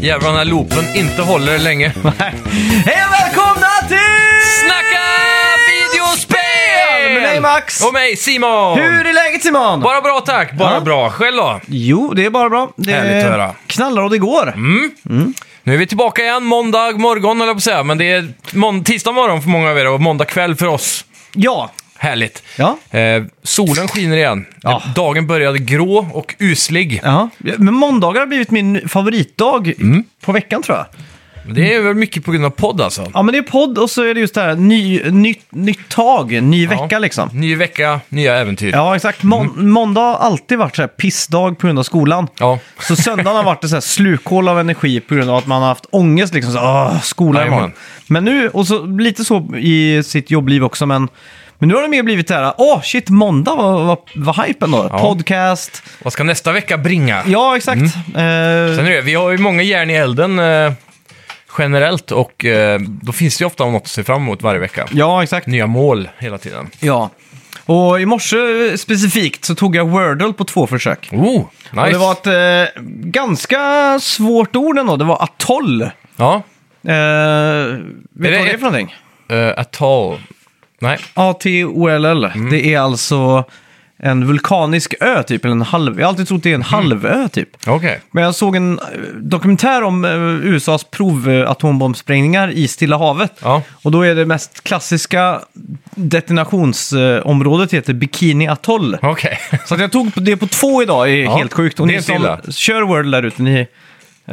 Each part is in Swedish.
Jävlar den här loopen inte håller länge. Hej och välkomna till... Snacka videospel! Med mig, Max. Och mig Simon! Hur är läget Simon? Bara bra tack, bara Ja. bra. Själv då? Jo, det är bara bra. Det Härligt att höra. Mm. knallar och det går. Nu är vi tillbaka igen måndag morgon eller på att säga, men det är månd- tisdag morgon för många av er och måndag kväll för oss. Ja. Härligt. Ja. Eh, solen skiner igen. Ja. Dagen började grå och uslig. ja. Men måndagar har blivit min favoritdag Mm. på veckan tror jag. Det är väl mycket på grund av podd alltså. Ja, men det är podd och så är det just det här ny, nytt, nytt tag, ny vecka Ja. Mm. liksom. Ny vecka, nya äventyr. Ja, exakt. Mån, Måndag har alltid varit så här pissdag på grund av skolan. Ja. Så söndagen har varit ett så här slukhål av energi på grund av att man har haft ångest. Liksom, så, Åh, skola imorgon. Jajamän. Men nu, och så lite så i sitt jobbliv också, men, men nu har det mer blivit det här, åh shit, måndag var, var, var hype ändå. Ja. Podcast. Vad ska nästa vecka bringa? Ja, exakt. Eh, Sen är det, vi har ju många järn i elden eh, generellt och eh, då finns det ju ofta något att se fram emot varje vecka. ja, exakt. Nya mål hela tiden. Ja. Och i morse eh, specifikt så tog jag Wordle på två försök. Oh, nice! Och det var ett eh, ganska svårt ord ändå. Det var atoll. Eh, Ja, vet du vad det är ett- för någonting? uh, atoll. Nej, A-T-O-L-L. Mm. Det är alltså en vulkanisk ö typ, eller en halv... Jag har alltid trott det är en Mm. halvö typ. okej. Men jag såg en eh, dokumentär om eh, USAs provatombombsprängningar i Stilla havet. Ja. Och då är det mest klassiska detonationsområdet heter Bikini Atoll. Okej. Så att jag tog det på två idag är Ja, helt sjukt. Och det är ni inte som illa. kör World där ute, ni... eh,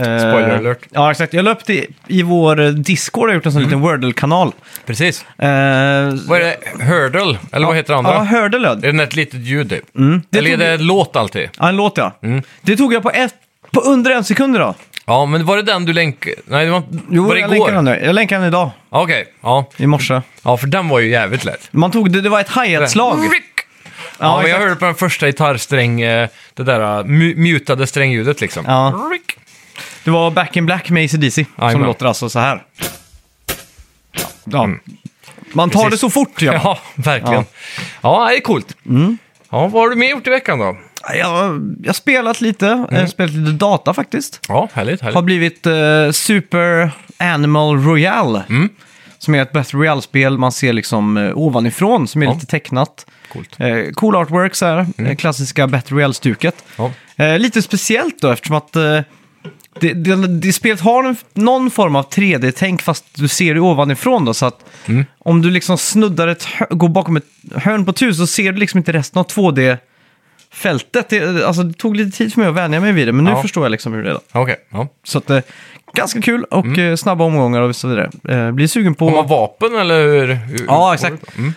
Spoiler alert. Ja, exakt. Jag löpte i, i vår eh, Discord, jag har gjort en sån liten Wordle-kanal. Precis. Eh, Vad är det? Hurdle? Eller vad heter det andra? Ja, hörde är löd. det ett litet ljud typ? Eller är tog- det låt alltid? Ja, en låt ja. Det tog jag på, ett, på under en sekund idag. Ja, men var det den du länkade? Nej, det var, var det jag igår? länkar den nu. Jag länkar den idag, Ja, Okej, ja. i morse. Ja, för den var ju jävligt lätt. Man tog det, det var ett hi-hat-slag. Rick! Ja, Ja, men jag exakt. hörde på den första gitarrsträng, eh, det där eh, mu- mutade strängljudet liksom. Ja. Rick! Det var Back in Black med ACDC som Jajamän. låter alltså så här. Ja. Man tar Precis. det så fort Mm. ja. Ja, verkligen. Ja, det är coolt. Mm. Ja, vad har du mer gjort i veckan då? Jag, jag har spelat lite, jag har spelat lite data faktiskt. Ja, härligt, härligt. Har blivit eh, Super Animal Royale. Som är ett Battle Royale-spel man ser liksom eh, ovanifrån, som är Ja. lite tecknat. Coolt. Eh, cool artwork så här, eh, klassiska Battle Royale-stuket. Ja. Eh, lite speciellt då eftersom att eh, det, det, det spelet har en, någon form av 3D-tänk fast du ser det ovanifrån då. Så att Mm. om du liksom snuddar ett, hö- går bakom ett hörn på ett hus så ser du liksom inte resten av 2D-fältet. Det, alltså, det tog lite tid för mig att vänja mig vid det men nu Ja. förstår jag liksom hur det är. Då. Okej, ja. Så att, eh, ganska kul och eh, snabba omgångar och så vidare. Eh, blir sugen på... Har Mm. man vapen eller hur? hur Ja, exakt.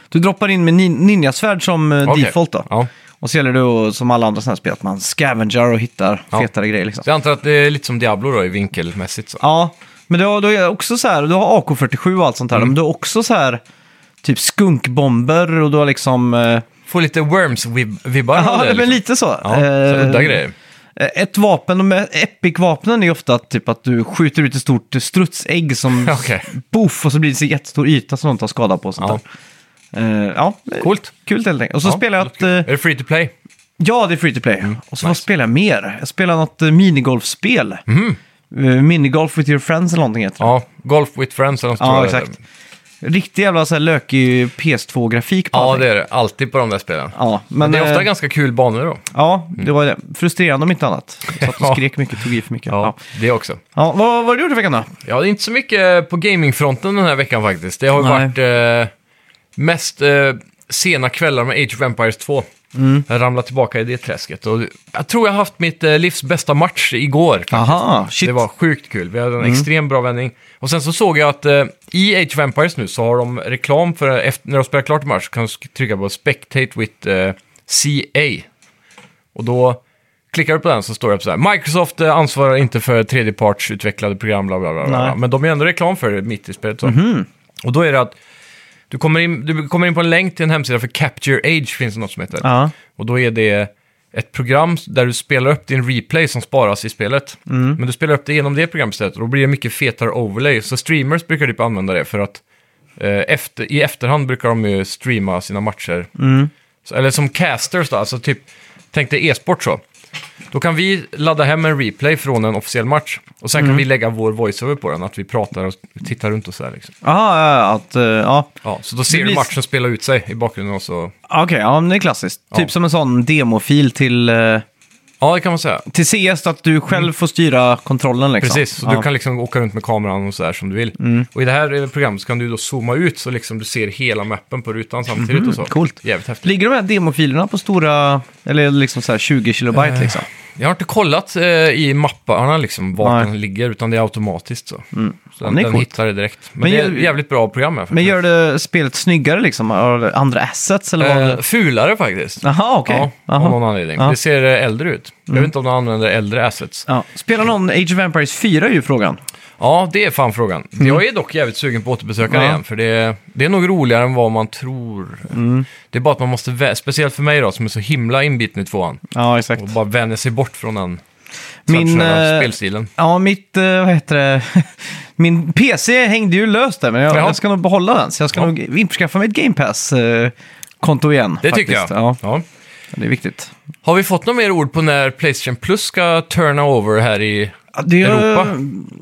Du droppar in med nin- ninjasvärd som eh, Okej. default då. Ja. Och så gäller det att, som alla andra sådana här spel, att man scavengar och hittar Ja. fetare grejer liksom. Så jag antar att det är lite som Diablo då, i vinkelmässigt så. Ja, men du har, du har också så här, du har AK47 och allt sånt här, Mm. men du har också så här typ skunkbomber och du har liksom... Eh, Får lite Worms-vibbar ja, av det. men Liksom. lite så. Ja, så Eh, udda grejer. Ett vapen, de här epic-vapnen är ofta att, typ att du skjuter ut ett stort strutsägg som Okej. boff och så blir det en jättestor yta som de tar skada på. Och sånt Ja. där. Eh, ja, Coolt. kul helt enkelt. Och så Ja, spelar jag ett... låter kul. Mm, eh, Är det free to play? Ja, det är free to play. och så vad spelar jag mer? Jag spelar något eh, minigolfspel. Mhm. Eh, minigolf with your friends eller någonting heter det. Ja, Golf with Friends eller något Ja, tror jag det är. exakt. Riktig jävla så här lökig PS2-grafik på Ja, allting. det är det. Alltid på de där spelen. Ja, men, det är ofta eh, ganska kul banor då. ja, det var det. Frustrerande om inte annat. Så att du Ja. skrek mycket, tog i för mycket. Ja. Ja, Ja. det också. vad, vad har du gjort i veckan då? Ja, det är inte så mycket eh, på gamingfronten den här veckan faktiskt. Det har ju Nej. varit eh, mest eh, sena kvällar med Age of Empires 2. Mm. Jag ramlade tillbaka i det träsket. Och jag tror jag har haft mitt eh, livs bästa match igår. faktiskt. Aha, shit. Mm. Det var sjukt kul. Vi hade en extremt bra vändning. Och sen så såg jag att eh, i Age of Empires nu så har de reklam för efter, när de spelar klart en match så kan du sk- trycka på Spectate with eh, CA. Och då klickar du på den så står det upp så här. Microsoft eh, ansvarar inte för tredjepartsutvecklade program, bla bla bla. bla. Nej. Mhm. Men de är ändå reklam för det mitt i spelet. Så. Och då är det att du kommer, in, du kommer in på en länk till en hemsida för Capture Age, finns det något som heter. Ja. Och då är det ett program där du spelar upp din replay som sparas i spelet. Men du spelar upp det genom det programmet istället och då blir det mycket fetare overlay. Så streamers brukar typ använda det för att eh, efter, i efterhand brukar de ju streama sina matcher. Så, eller som casters då, alltså typ, tänk dig e-sport så. Då kan vi ladda hem en replay från en officiell match. Och sen kan vi lägga vår voiceover på den, att vi pratar och tittar runt och sådär. Liksom. Aha, ja, ja, att, eh, ja. Ja, så då ser Det du blir- matchen spela ut sig i bakgrunden och så... Okej, ja, men det är klassiskt. Typ som en sån demofil till, eh, Ja, det kan man säga. till CS, att du själv får styra kontrollen liksom. Mm. Precis, så ja. Mm. du kan liksom åka runt med kameran och sådär som du vill. Och i det här eh, programmet så kan du då zooma ut så liksom du ser hela mappen på rutan samtidigt och så. Mhm, coolt. Jävligt häftigt. Ligger de här demofilerna på stora, eller liksom så här 20 kilobyte liksom? Jag har inte kollat eh, i mapparna liksom vart Nej. Mm. den ligger, utan det är automatiskt så. Så Ja, den, men det är den coolt. hittar det direkt. Men, Men det är gör- ett jävligt bra program här Men faktiskt. gör det spelet snyggare liksom? Har det Andra assets eller vad? eh, fulare faktiskt. Jaha, okej. Ja, Jaha. av någon anledning. Ja. Mm. Det ser eh, äldre ut. Jag vet inte om de använder äldre assets. Ja. Spelar någon Age of Empires 4 är ju frågan. Ja, det är fan frågan. Jag är dock jävligt sugen på att återbesöka det Mm. Ja. igen, för det, det är nog roligare än vad man tror. Mm. Det är bara att man måste, vä- speciellt för mig då, som är så himla inbiten i tvåan, Ja, exakt. och bara vänja sig bort från den Min, traditionella eh, spelstilen. Ja, mitt, eh, vad heter det, min PC hängde ju löst där, men jag, Jaha. jag ska nog behålla den. Så jag ska Ja. nog införskaffa mig ett Game Pass-konto igen. Det faktiskt. tycker jag. Ja, Ja. det är viktigt. Har vi fått några mer ord på när Playstation Plus ska turna over här i... Ja, Det är, Europa?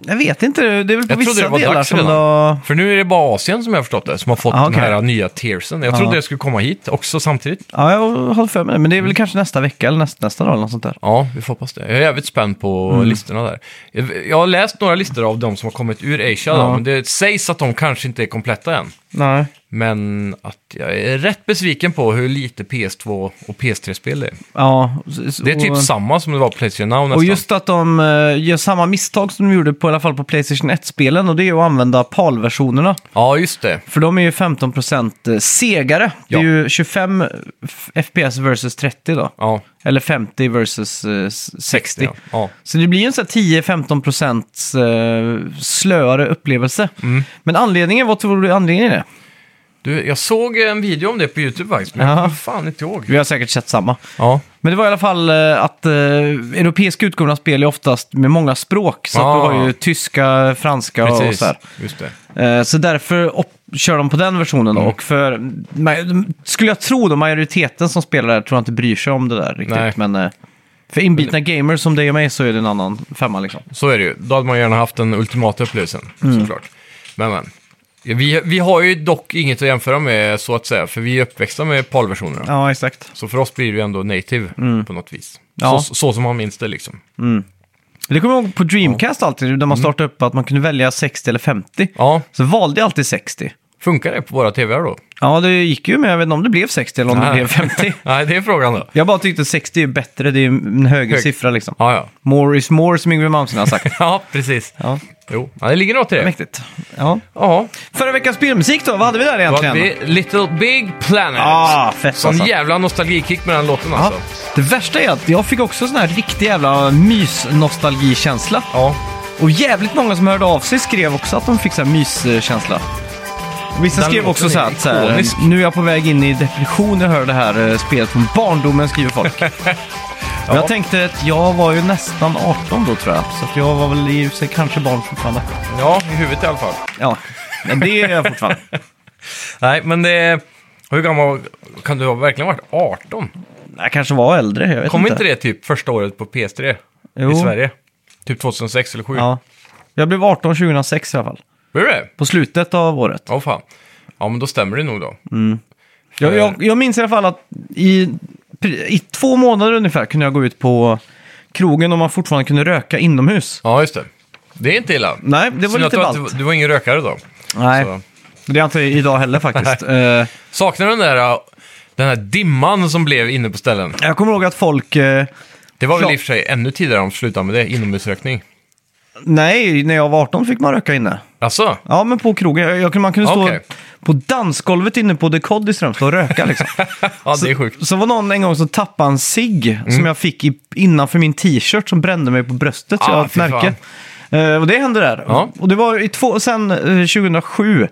Jag vet inte, det är väl på Jag trodde det vissa var delar dags som det redan. har... För nu är det bara Asien som jag har förstått det, som har fått Ah, okej. Ah. den här nya tiersen. Jag trodde Ja. det skulle komma hit också samtidigt. Ja, jag håller för mig det, men det är väl kanske nästa vecka eller näst, nästa dag eller något sånt där. Ja, vi får hoppas det. Jag är jävligt spänd på Mm. listorna där. Jag har läst några listor av de som har kommit ur Asia då, Ja. men det sägs att de kanske inte är kompletta än. Nej. Men att jag är rätt besviken på hur lite PS2 och PS3-spel det är. Ja, Det är typ samma som det var på Playstation Now nästan. Och just att de eh, gör samma misstag som de gjorde på i alla fall på Playstation 1-spelen och det är att använda PAL-versionerna. Ja, just det. För de är ju 15% segare. Ja. Det är ju 25 f- FPS versus 30 då. Ja, Eller 50 versus eh, s- 60. ja. ja. Så det blir ju en sån här 10-15% eh, slöare upplevelse. Mm. Men anledningen, vad tror du anledningen är? Du, jag såg en video om det på YouTube faktiskt, men jag Ja. kommer fan inte ihåg. Vi har säkert sett samma. Ja. Men det var i alla fall eh, att eh, europeiska utgåvorna av spel är oftast med många språk. Så Ah. att du har ju tyska, franska och Precis, så här. just det. Eh, Så därför op- kör de på den versionen. då. Mm. Och för, ma- skulle jag tro då, majoriteten som spelar där tror jag inte bryr sig om det där riktigt. Nej. Men eh, för inbitna gamers som dig och mig så är det en annan femma liksom. Så är det ju. Då hade man gärna haft den ultimata upplevelsen, Mm. såklart. Men, men. Ja, Vi, vi har ju dock inget att jämföra med, så att säga, för vi är uppväxta med PAL-versionerna. Ja, exakt. Så för oss blir det ju ändå native på något vis. Mm. Ja. Så, så som man minns det liksom. Det kommer jag ihåg på Dreamcast alltid, där man startade upp att man kunde välja 60 eller 50. Ja, Så valde jag alltid 60. funkar det på våra tvr då? Ja, det gick ju, men jag vet inte om det blev 60 eller om Nej. det blev 50. Nej, det är frågan då. Jag bara tyckte 60 är bättre, det är en högre Hög. siffra liksom. Ja, ja. More is more, som Yngwie Malmsteen har sagt. Ja, precis. ja, Jo, ja, det ligger något i det. mäktigt. Ja. Ja, Förra veckans spelmusik då, vad hade vi där då hade egentligen? vi Little Big Planet. Ah, fett Sån alltså. jävla nostalgikick med den låten Ja. alltså. Det värsta är att jag fick också sån här riktig jävla mys-nostalgikänsla. Ja. Och jävligt många som hörde av sig skrev också att de fick så här myskänsla. Vissa Den skrev låten också så här är att så här, ikonisk. nu är jag på väg in i depression när jag hör det här eh, spelet från barndomen, skriver folk. Men Jag tänkte att jag var ju nästan 18 då tror jag, så att jag var väl i och för sig kanske barn fortfarande. ja, i huvudet i alla fall. Ja, men det är jag fortfarande. Nej, men det... Hur gammal kan du ha verkligen varit? 18? Jag kanske var äldre, jag vet Kom inte. inte det typ första året på PS3 i Jo. Sverige? Typ 2006 eller 2007? Ja. Jag blev 18 2006 i alla fall, Blev det? på slutet av året. Ja, fan. Ja, men då stämmer det nog då. Jag, jag, jag minns i alla fall att i, i två månader ungefär kunde jag gå ut på krogen om man fortfarande kunde röka inomhus. Ja, just det. Det är inte illa. Nej, det var Synd att lite du, att ballt. du, du var ingen rökare då. Nej, Så. det är jag inte idag heller faktiskt. Eh, Saknar du den där, uh, den här dimman som blev inne på ställen? jag kommer ihåg att folk... eh, Det var väl Klart. i och för sig ännu tidigare de slutade med det, inomhusrökning. nej, när jag var 18 fick man röka inne. Alltså? Ja, men på krogen. Jag, jag, kunde- man kunde stå Okej. på dansgolvet inne på The Cod i Strömstad och röka liksom. Ja, det är Så, sjukt. Mm. så var någon en gång som tappade en cigg som jag fick i, innanför min t-shirt som brände mig på bröstet. Ah, så jag har ett fy fan. märke. Eh, och det hände där. Ja. Och det var i två, sen eh, 2007,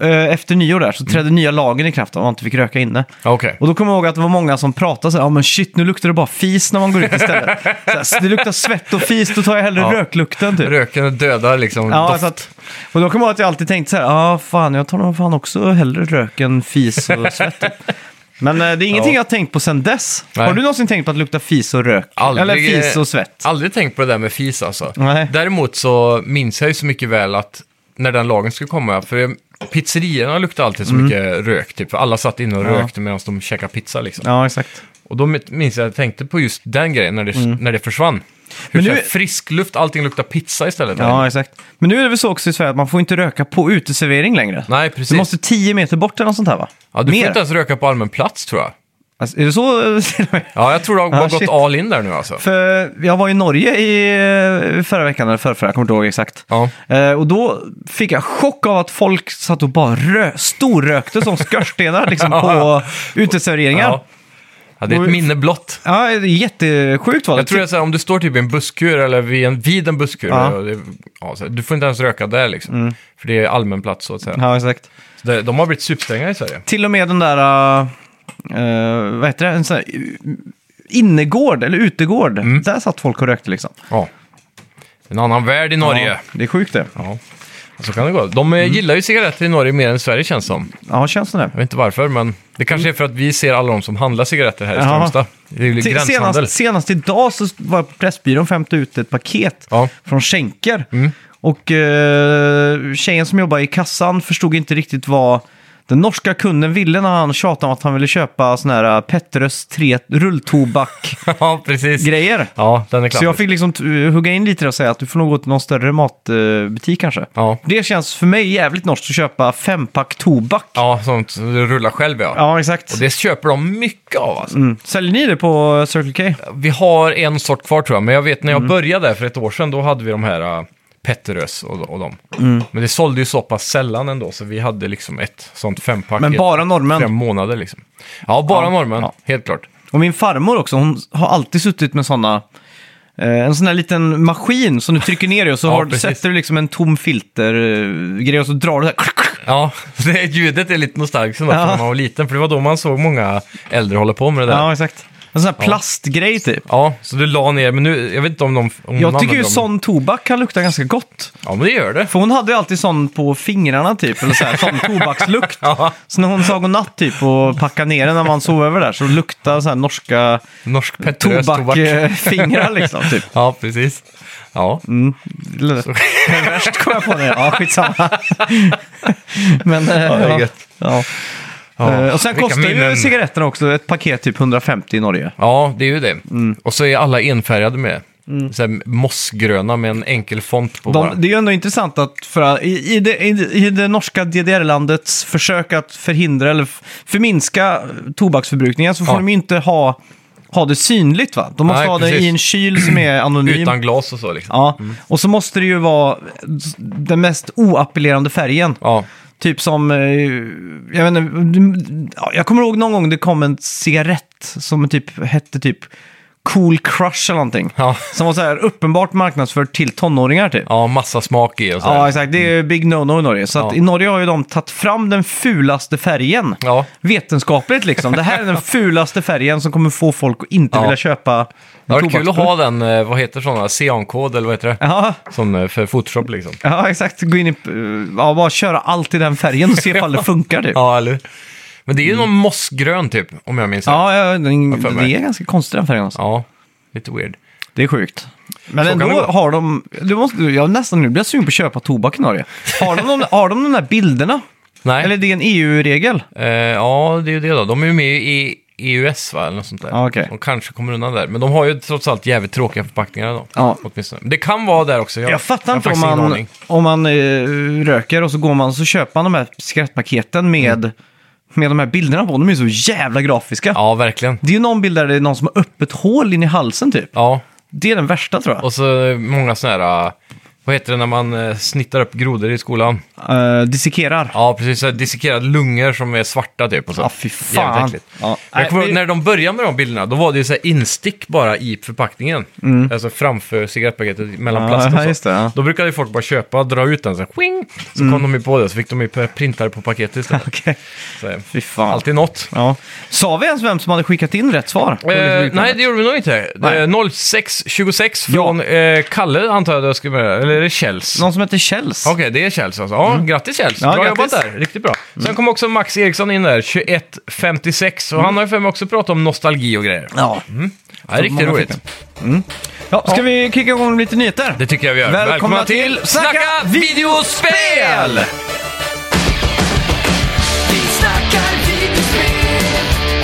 eh, efter nyår där, så trädde nya lagen i kraft om man inte fick röka inne. Ja, Okej. Och då kommer jag ihåg att det var många som pratade så här, ja men shit nu luktar det bara fis när man går ut istället. så här, "Så det luktar svett och fis, då tar jag hellre Ja. röklukten typ. Röken dödar liksom Ja, doft. alltså att, och då kommer jag ihåg att jag alltid tänkte så här, ja ah, fan jag tar nog fan också hellre rök än fis och svett. Men eh, det är ingenting Ja. jag har tänkt på sen dess. Nej. Har du någonsin tänkt på att lukta fis och rök? Aldrig, Eller fis eh, och svett? Aldrig tänkt på det där med fis alltså. Nej. Däremot så minns jag ju så mycket väl att när den lagen skulle komma, för eh, pizzerierna luktade alltid så mycket rök, typ. Alla satt inne och Mm. Ja. rökte medan de käkade pizza liksom. Ja, exakt. Och då minns jag att jag tänkte på just den grejen när det, när det försvann. Hur Mm. Men så nu- här frisk luft, allting luktar pizza istället. Ja, exakt. Men nu är det väl så också i Sverige att man får inte röka på uteservering längre. Nej, precis. Du måste 10 meter bort eller något sånt här va? ja, du Mer. får inte ens röka på allmän plats tror jag. Alltså, är det så? till och med? Ja, jag tror det har Ah, bara shit. gått all in där nu alltså. För jag var i Norge i eh, förra veckan, eller förrförra, jag kommer inte ihåg exakt. Ja. Eh, Och då fick jag chock av att folk satt och bara rö- storrökte som skorstenar liksom, på uteserveringar. Ja. Ja. ja, det är ett minne blott. det är jättesjukt var det. Jag tror det är så här, om du står typ i en busskur eller vid en, vid en busskur, Ja. Mm. och det, ja, så här, du får inte ens röka där liksom. För det är allmän plats så att säga. Ja, exakt. Så det, de har blivit superstränga i Sverige. Till och med den där, eh, eh, vad heter det, en sån här eh, innergård eller utegård. Mm. Där satt folk och rökte liksom. Ja. En annan värld i Norge. Ja, Mm. Ja. det är sjukt det. Så kan det gå. De eh, gillar ju cigaretter i Norge mer än Sverige känns som. Ja, känns det. Jag vet inte varför, men det kanske är för att vi ser alla de som handlar cigaretter här i Mm. Ja. Strömstad. Det är ju Sen- gränshandel. Senast, senast idag så var jag på Pressbyrån och hämtade ut ett paket Ja. från skänker. Och eh, tjejen som jobbar i kassan förstod inte riktigt vad den norska kunden ville när han tjatade om att han ville köpa sån här Petrus 3 rulltobak-grejer. ja, precis. Ja, den är klar. Så jag fick liksom t- hugga in lite och säga att du får nog gå till någon större matbutik eh, kanske. Ja. Det känns för mig jävligt norskt att köpa fempack tobak. Ja, sånt som du rullar själv ja. Ja, exakt. Och det köper de mycket av alltså. Mm. Säljer ni det på Circle K? Vi har en sort kvar tror jag, men jag vet när jag Mm. började där för ett år sedan, då hade vi de här äh, Petterös och, och dem. Mm. Men det sålde ju så pass sällan ändå, så vi hade liksom ett sånt fempack Men i bara norrmän. fem månader liksom. Ja, bara Ja, norrmän, ja. helt klart. Och min farmor också, hon har alltid suttit med sådana... Eh, en sån här liten maskin som du trycker ner i och så Ja, har, precis. sätter du liksom en tom filtergrej och så drar du så här. Ja, det ljudet är lite nostalgiskt ändå, Ja. för när man var liten, för det var då man såg många äldre hålla på med det där. Ja, exakt. En sån här plastgrej typ. Ja, så du la ner, men nu, jag vet inte om de... Om Jag de tycker ju använder dem. sån tobak kan lukta ganska gott. Ja, men det gör det. För hon hade ju alltid sån på fingrarna typ, eller så här, sån tobakslukt. Ja. Så när hon sa godnatt typ och packade ner den när man sov över där så luktade så här norska Norsk Petterös tobak. tobakfingrar liksom. Typ. Ja, precis. Ja, Mm. Värst kom jag på det. Ja, skitsamma. Men, eh, det är ja, gött. ja. Ja, Eh, Och sen vilka kostar ju minnen. cigaretterna också ett paket typ 150 i Norge. ja det är ju det. Och så är alla enfärgade med. Så här mossgröna med en enkel font på bara. De, det är ju ändå intressant att för, i, i, det, i, det- i det norska DDR-landets försök att förhindra eller f- förminska tobaksförbrukningen så får Ja. de ju inte ha, ha det synligt. va? De måste Nej, ha det precis. i en kyl som är anonym. Utan glas och så liksom. Ja, och så måste det ju vara den mest oappellerande färgen. Ja, Typ som, eh, jag vet inte, du- ja, jag kommer ihåg någon gång det kom en cigarett som typ hette typ Cool Crush eller någonting. ja. Som var så här uppenbart marknadsförd till tonåringar typ. ja massa smak i och så. Ja, där. exakt. Det är ju big no-no i Norge. Så att Ja. i Norge har ju de tagit fram den fulaste färgen. Ja. Vetenskapligt liksom. Det här är den fulaste färgen som kommer få folk att inte Ja. vilja köpa Det hade varit kul att ha den, eh, vad heter sådana, CAN-kod eller vad heter det? Ja, Sån eh, för Photoshop liksom. ja, exakt. Gå in i... eh, Ja, bara köra allt i den färgen och se ifall det funkar typ. Ja, eller Men det är ju någon mossgrön typ, om jag minns rätt. Ja, ja den, för mig. det är ganska konstigt den färgen. Alltså. Ja, lite weird. Det är sjukt. Men Så kan ändå det gå. har de, du måste, jag nästan nu blir jag sugen på att köpa tobak i Norge. Har de, de, har de de där bilderna? Nej. Eller det är en E EU-regel? Eh, ja, det är ju det då. De är ju med i EUS va, eller något sånt där. Ja, okej. De kanske kommer undan där. Men de har ju trots allt jävligt tråkiga förpackningar då. Ja. Åtminstone. Men Det kan vara där också. Jag, Jag fattar har inte om faktiskt ingen man, aning. om man eh, röker och så går man och så köper man de här cigarettpaketen med, med de här bilderna på. De är så jävla grafiska. Mm. Ja, verkligen. Det är ju någon bild där det är någon som har öppet hål in i halsen typ. Ja, Det är den värsta tror jag. och så många sådana här... eh, Vad heter det när man eh, snittar upp grodor i skolan? Eh, dissekerar. Ja, Ja, precis. så här Dissekerade lungor som är svarta typ. Och så. fy Jävligt fan. äckligt. Ja. Men Jag kommer, Nej, ihåg, när de började med de bilderna, då var det ju så här instick bara i förpackningen. Alltså framför cigarettpaketet, mellan Mm. Ja, plast och ja, så. just det, ja. Då brukade ju folk bara köpa, dra ut den, så, här, "Wing!" så kom de ju på det, så fick de ju printare på paketet istället. Okej. Så, här, Fy fan. alltid något. Ja. Sa vi ens vem som hade skickat in rätt svar? Eh, nej, det gjorde vi nog inte. Nej. Eh, 0626 från eh, Kalle, antar jag det skulle vara. Eller eller är det Kjells? Någon som heter Kjells. Okej, det är Kjells alltså. Ja, grattis Kjells. Mm. Ja, bra grattis. Mm. jobbat där. Riktigt bra. Sen kom också Max Eriksson in där, 2156. Och han har ju för mig också pratat om nostalgi och grejer. Ja. Ja, det är riktigt många roligt. fick ja, ska vi kicka igång lite nyheter? Det tycker jag vi gör. Välkomna till Snacka videospel! Vi snackar videospel,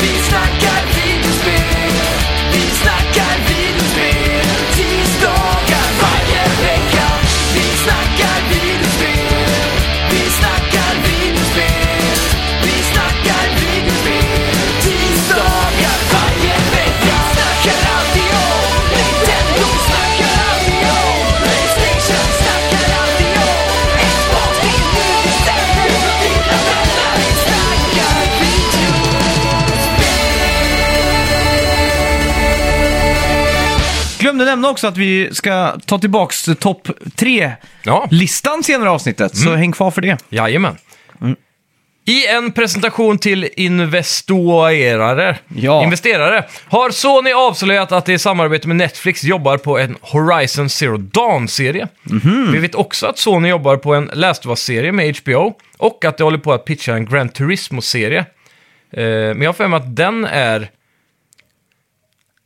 vi snackar videospel, vi snackar videospel tisdagar varje vecka. Vi snackar videospel, vi snackar videospel, vi snackar videospel tisdagar varje vecka. Snackar alltid om Nintendo, snackar alltid om Playstation, snackar alltid om Xbox, det är nu vi sänder från dina vänner. Vi snackar video. Glömde nämna också att vi ska ta tillbaks topp Ja. 3-listan senare i avsnittet, så Mm. häng kvar för det. Jajamän. Mm. I en presentation till investerare, Ja. investerare har Sony avslöjat att de i samarbete med Netflix jobbar på en Horizon Zero Dawn-serie. Mhm. Vi vet också att Sony jobbar på en Last of Us-serie med HBO och att de håller på att pitcha en Gran Turismo-serie. Eh, men jag har för mig att den är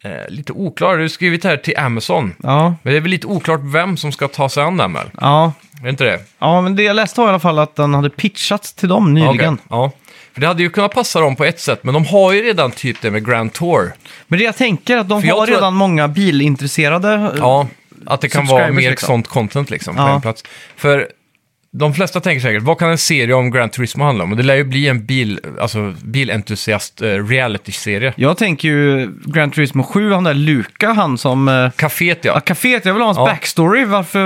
eh, lite oklar. Du har skrivit här till Amazon. Ja, Men det är väl lite oklart vem som ska ta sig an den väl? ja. Är det inte det? ja men det jag läste var i alla fall att den hade pitchats till dem nyligen. Okej, ja. För det hade ju kunnat passa dem på ett sätt, men de har ju redan typ det med Grand Tour. Men det jag tänker är att de För jag har tror redan många bilintresserade. Ja, att det kan vara Subscribers, mer liksom. sånt content liksom på Ja. en plats. För de flesta tänker säkert, vad kan en serie om Grand Turismo handla om? Och det lär ju bli en bil, alltså bilentusiast eh, reality-serie. Jag tänker ju Gran Turismo 7, han där Luca, han som... eh, Caféet ja. Ja, kaféet, jag vill ha hans Ja. backstory. Varför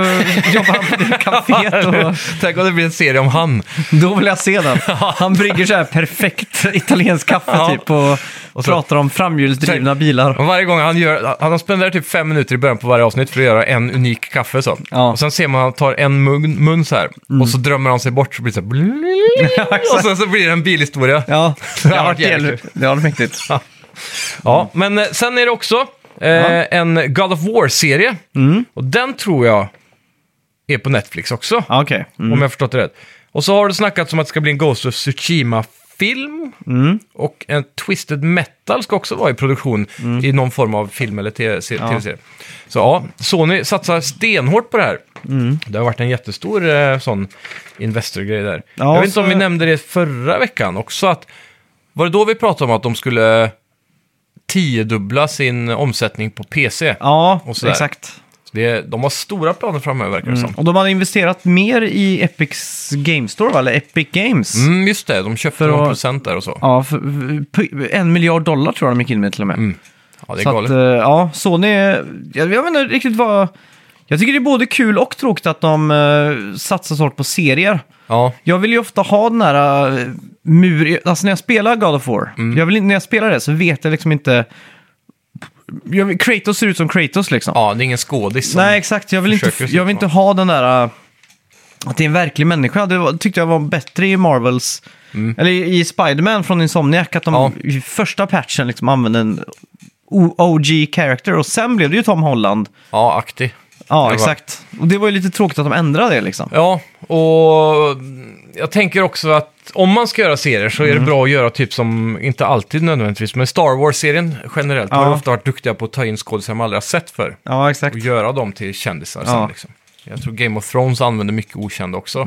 jobbar han på det kaféet? Och... Tänk om det blir en serie om han. Då vill jag se den. Han brygger så här perfekt italiensk kaffe Ja. typ och, Typ. så- pratar om framhjulsdrivna bilar. Och varje gång han gör, han spenderar typ fem minuter i början på varje avsnitt för att göra en unik kaffe så. Ja. Mm. Och sen ser man att han tar en mun, mun så här. Och så drömmer han sig bort så blir det så här, Och sen så blir det en bilhistoria. Ja, det har har varit varit jävligt jävligt- det har varit mäktigt. Ja, men eh, sen är det också eh, en God of War-serie. Mm. Och den tror jag är på Netflix också, Ja, Okej. Mm. om jag har förstått det rätt. Och så har det snackats om att det ska bli en Ghost of Tsushima-film. Och en Twisted Metal ska också vara i produktion i någon form av film eller te- se- tv-serie. Så ja, Sony satsar stenhårt på det här. Det har varit en jättestor eh, sån investor-grej där. Ja, jag vet inte om så- vi nämnde det förra veckan också. Att, var det då vi pratade om att de skulle tiodubbla sin omsättning på PC? Ja, Och sådär. exakt. Det, de har stora planer framöver verkar det som. Och de hade investerat mer i Epics Game Store, va? eller Epic Games. Mm, just det, de köpte För att- någon procent där och så. Ja, för, för- en miljard dollar tror jag de gick in med till och med. Ja, det är Så att, galet. eh, ja, Sony, jag, jag vet inte riktigt vad... Jag tycker det är både kul och tråkigt att de eh, satsar så hårt på serier. ja. Jag vill ju ofta ha den här eh, mur... Alltså när jag spelar God of War, Mm. jag vill, inte- när jag spelar det så vet jag liksom inte... Jag, vill- Kratos ser ut som Kratos liksom. ja, det är ingen skådis. som- Nej, exakt. Jag vill, inte, försöker se jag vill ut inte ha den där... eh, Att det är en verklig människa. Det var, tyckte jag var bättre i Marvels... Eller i i Spider-Man från Insomniac. Att de Mm. Ja. i första patchen liksom använde en O- OG character. Och sen blev det ju Tom Holland. Ja, aktig. Ja, var- exakt. Och det var ju lite tråkigt att de ändrade det liksom. Ja, och jag tänker också att om man ska göra serier så är Mm. det bra att göra typ som, inte alltid nödvändigtvis, men Star Wars-serien generellt har Ja. ju ofta varit duktiga på att ta in skådisar man aldrig har sett för Ja, exakt. och göra dem till kändisar sen Ja. liksom. Jag tror Game of Thrones använder mycket okända också.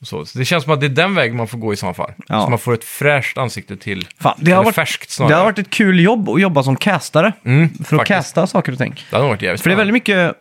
Och så. så det känns som att det är den väg man får gå i så fall. Mm. Ja. Så man får ett fräscht ansikte till, Fan, det, eller har varit, färskt det snarare. Mm, har varit ett kul jobb att jobba som castare. för att faktiskt. casta saker och ting. det hade varit jävligt För det är väldigt mycket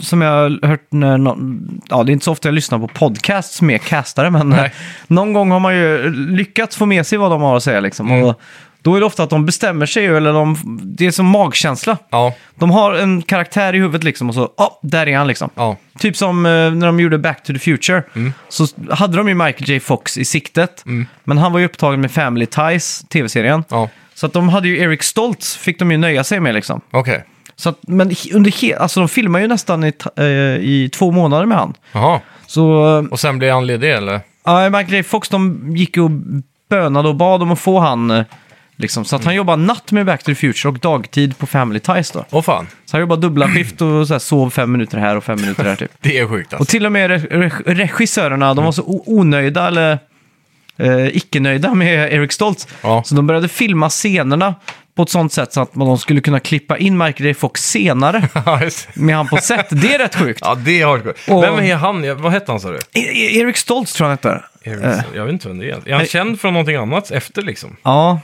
som jag har hört när någon, ja det är inte så ofta jag lyssnar på podcasts med castare, men eh, Nej. någon gång har man ju lyckats få med sig vad de har att säga liksom. Mm. Och då är det ofta att de bestämmer sig eller de, det är som magkänsla. Ja, De har en karaktär i huvudet liksom och så, ja, där är han liksom. ja. Mm. Typ som eh, när de gjorde Back to the Future. Så hade de ju Michael J Fox i siktet, men han var ju upptagen med Family Ties, tv-serien. ja. Så att de hade ju Eric Stoltz, fick de ju nöja sig med liksom. okej. Så att, men he- under he, alltså de filmar ju nästan i, ta- eh, i två månader med han. Jaha, Så eh, och sen blir han ledig eller? uh, Michael J. Fox de gick och bönade och bad om att få han eh, Liksom. Så att han jobbar natt med Back to the Future och dagtid på Family Ties då. Åh fan, Så han jobbar dubbla skift och så här, sov fem minuter här och fem minuter där typ. det är sjukt Och alltså. till och med re- re- regissörerna, de var så o- onöjda eller eh, icke-nöjda med Eric Stoltz. Ja. Så de började filma scenerna på ett sånt sätt så att man- de skulle kunna klippa in Michael J. Fox senare Ja, just det. med han på set. Det är rätt sjukt. ja, det är hardcore. Och- Vem är han? Ja, Vad hette han sa du? E- E- Eric Stoltz tror jag han heter. Eh, Ericsson. Jag vet inte vem det är. Är han Nej. känd från någonting annat efter liksom? ja.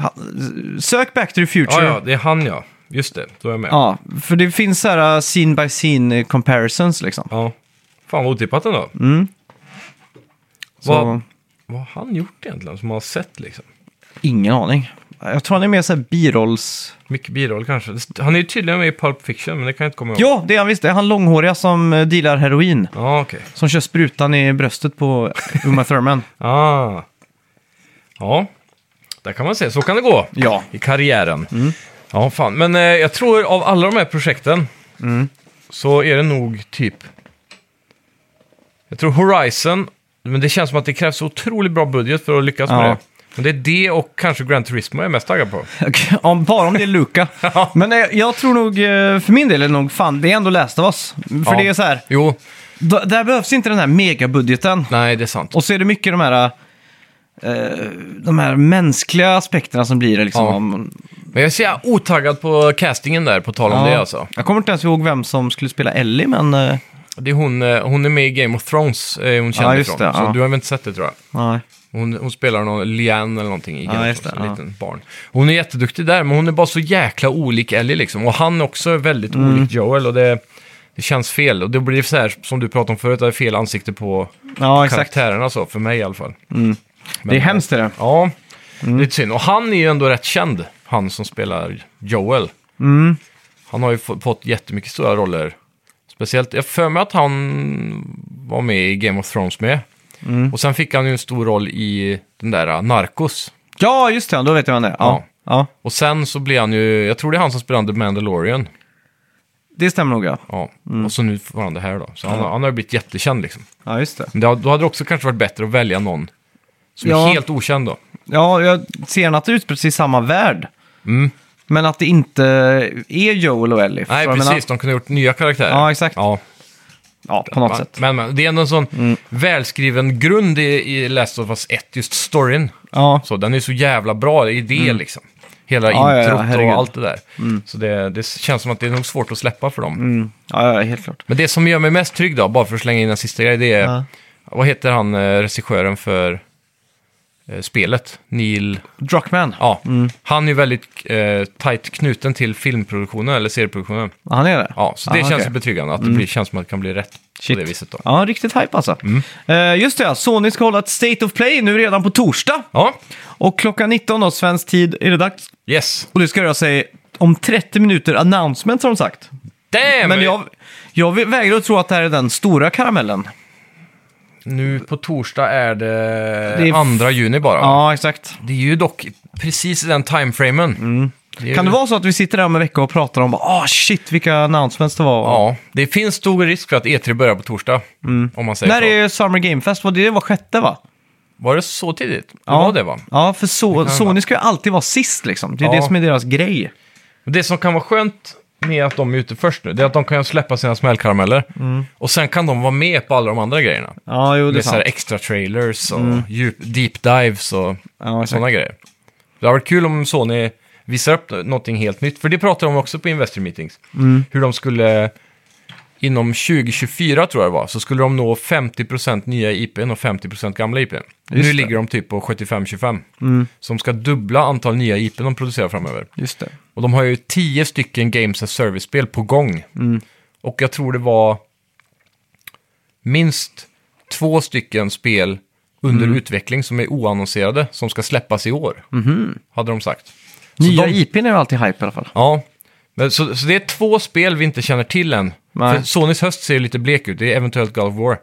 Han- Sök Back to the Ja, Future. ja, det är han ja. Just det, då är jag med. Ja. Ja, för det finns så här uh, scene by scene eh, comparisons liksom. Fan vad otippat ändå. Mm. Så, Vad- Vad har han gjort egentligen som man har sett liksom? ingen aning. Jag tror han är mer så här birolls... Mycket biroll kanske. Det- Han är ju tydligen med i Pulp Fiction, men det kan jag inte komma ihåg. Ja, det är han visst. Det är han långhåriga som eh, dealar heroin. Ja, okej. Som kör sprutan i bröstet på Uma Thurman. Ah. Ja, där kan man se. Så kan det gå ja. i karriären. Ja, fan. Men eh, jag tror av alla de här projekten så är det nog typ... Jag tror Horizon, men det känns som att det krävs otroligt bra budget för att lyckas med Ja. det. Men det är det och kanske Gran Turismo jag är mest taggad på. Okej, om- Bara om det är Luca. Ja. Men eh, jag tror nog, eh, för min del är det nog fan, det är ändå Last of Us. För Ja. det är så här, Jo, d- där behövs inte den här megabudgeten. nej det är sant. Och så är det mycket de här, eh, de här mänskliga aspekterna som blir det liksom. Ja. Om, Men jag är så jävla otaggad på castingen där, på tal om det alltså. Jag kommer inte ens ihåg vem som skulle spela Ellie, men... eh, Det är hon, eh, hon är med i Game of Thrones, eh, hon känner Ja, just ifrån. det, så ja. du har väl inte sett det tror jag. nej. Hon, hon spelar någon Liane eller någonting i Game of just Thrones, det, en ja. liten barn. Hon är jätteduktig där, men hon är bara så jäkla olik Ellie liksom. Och han också är väldigt Mm. olik Joel och det, det känns fel. Och det blir så här, som du pratade om förut, det är fel ansikte på Ja, exakt. Mm. karaktärerna så, för mig i alla fall. Men- Det är hemskt är det. Ja, lite synd. Och han är ju ändå rätt känd, han som spelar Joel. Mm. Han har ju få- fått jättemycket stora roller. Speciellt, jag för mig att han var med i Game of Thrones med. Mm. Och sen fick han ju en stor roll i den där uh, Narcos. Ja, just det. Då vet jag vem det är. Ja. ja. Och sen så blev han ju, jag tror det är han som spelar The Mandalorian. Det stämmer nog, ja. Ja. Och så nu får han det här då. Så han, har- han har ju blivit jättekänd liksom. Ja, just det. Men det, har- då hade det också kanske varit bättre att välja någon som Ja. är helt okänd då. Ja, jag ser att det utspelar sig i samma värld. Mm. Men att det inte är Joel och Ellie. Nej, Förstår du vad jag precis. De kunde ha gjort nya karaktärer. Ja, exakt. Ja, menar? Ja, på något men, sätt. Mm. Men, men det är ändå en sån välskriven grund i, i Last of Us 1, just storyn. Ja. Mm. Så den är så jävla bra i det liksom. Hela Ja, ja, ja, introt herregud. Mm. och allt det där. Så det, det känns som att det är nog svårt att släppa för dem. Ja, ja, helt klart. Men det som gör mig mest trygg då, bara för att slänga in en sista grej, det är... Ja. Vad heter han, eh, regissören för eh, spelet? Neil... Druckman. Ja, Mm. han är ju väldigt eh, tajt knuten till filmproduktionen, eller serieproduktionen. Han är det? Ja, så det Ah, känns okej. ju betryggande att det blir, känns som att det kan bli rätt Shit. på det viset då. Ja, riktigt hype alltså. Mm. Eh, just det, ja. Sony ska hålla ett State of Play nu redan på torsdag. Ja, Och klockan 19 då, svensk tid, är det dags. yes. Och det ska röra sig om 30 minuter announcement som sagt. Damn! Men jag, jag vägrar att tro att det här är den stora karamellen. Nu på torsdag är det, Det är f- 2 juni bara. Ja, exakt. Det är ju dock precis i den timeframen. är Mm. Kan det ju- vara så att vi sitter där om en vecka och pratar om ah shit vilka announcements det var? Ja, det finns stor risk för att E3 börjar på torsdag. Om man säger Mm. När så. är Summer Game Fest? Var det, det var sjätte va? Var det så tidigt? Det var det va? Ja, för so kan Sony vara. ska ju alltid vara sist liksom. Det är Ja. det som är deras grej. Och Det som kan vara skönt med att de är ute först nu, det är att de kan släppa sina smällkarameller. Och sen kan de vara med på alla de andra grejerna. Mm. Ja, jo det är Med så här sant. Mm. extra trailers och djup, deep dives och Ja, exakt. sådana grejer. Det har varit kul om Sony visar upp någonting helt nytt. För det pratade de också på Investor Meetings. Mm. Hur de skulle, inom 2024 tror jag det var, så skulle de nå 50% nya IPn och 50% gamla IPn. Nu det. Mm. ligger de typ på 75-25. Så de ska dubbla antal nya IPn de producerar framöver. Just det. Och de har ju 10 stycken Games as Service-spel på gång. Mm. Och jag tror det var minst två stycken spel under Mm. utveckling som är oannonserade som ska släppas i år. Hade de sagt. Så Mm-hmm. Nya de- IPn är ju alltid hype i alla fall. Ja. Men, så, så det är två spel vi inte känner till än. Nej. Mm. För Sonys höst ser ju lite blek ut. Det är eventuellt God of War.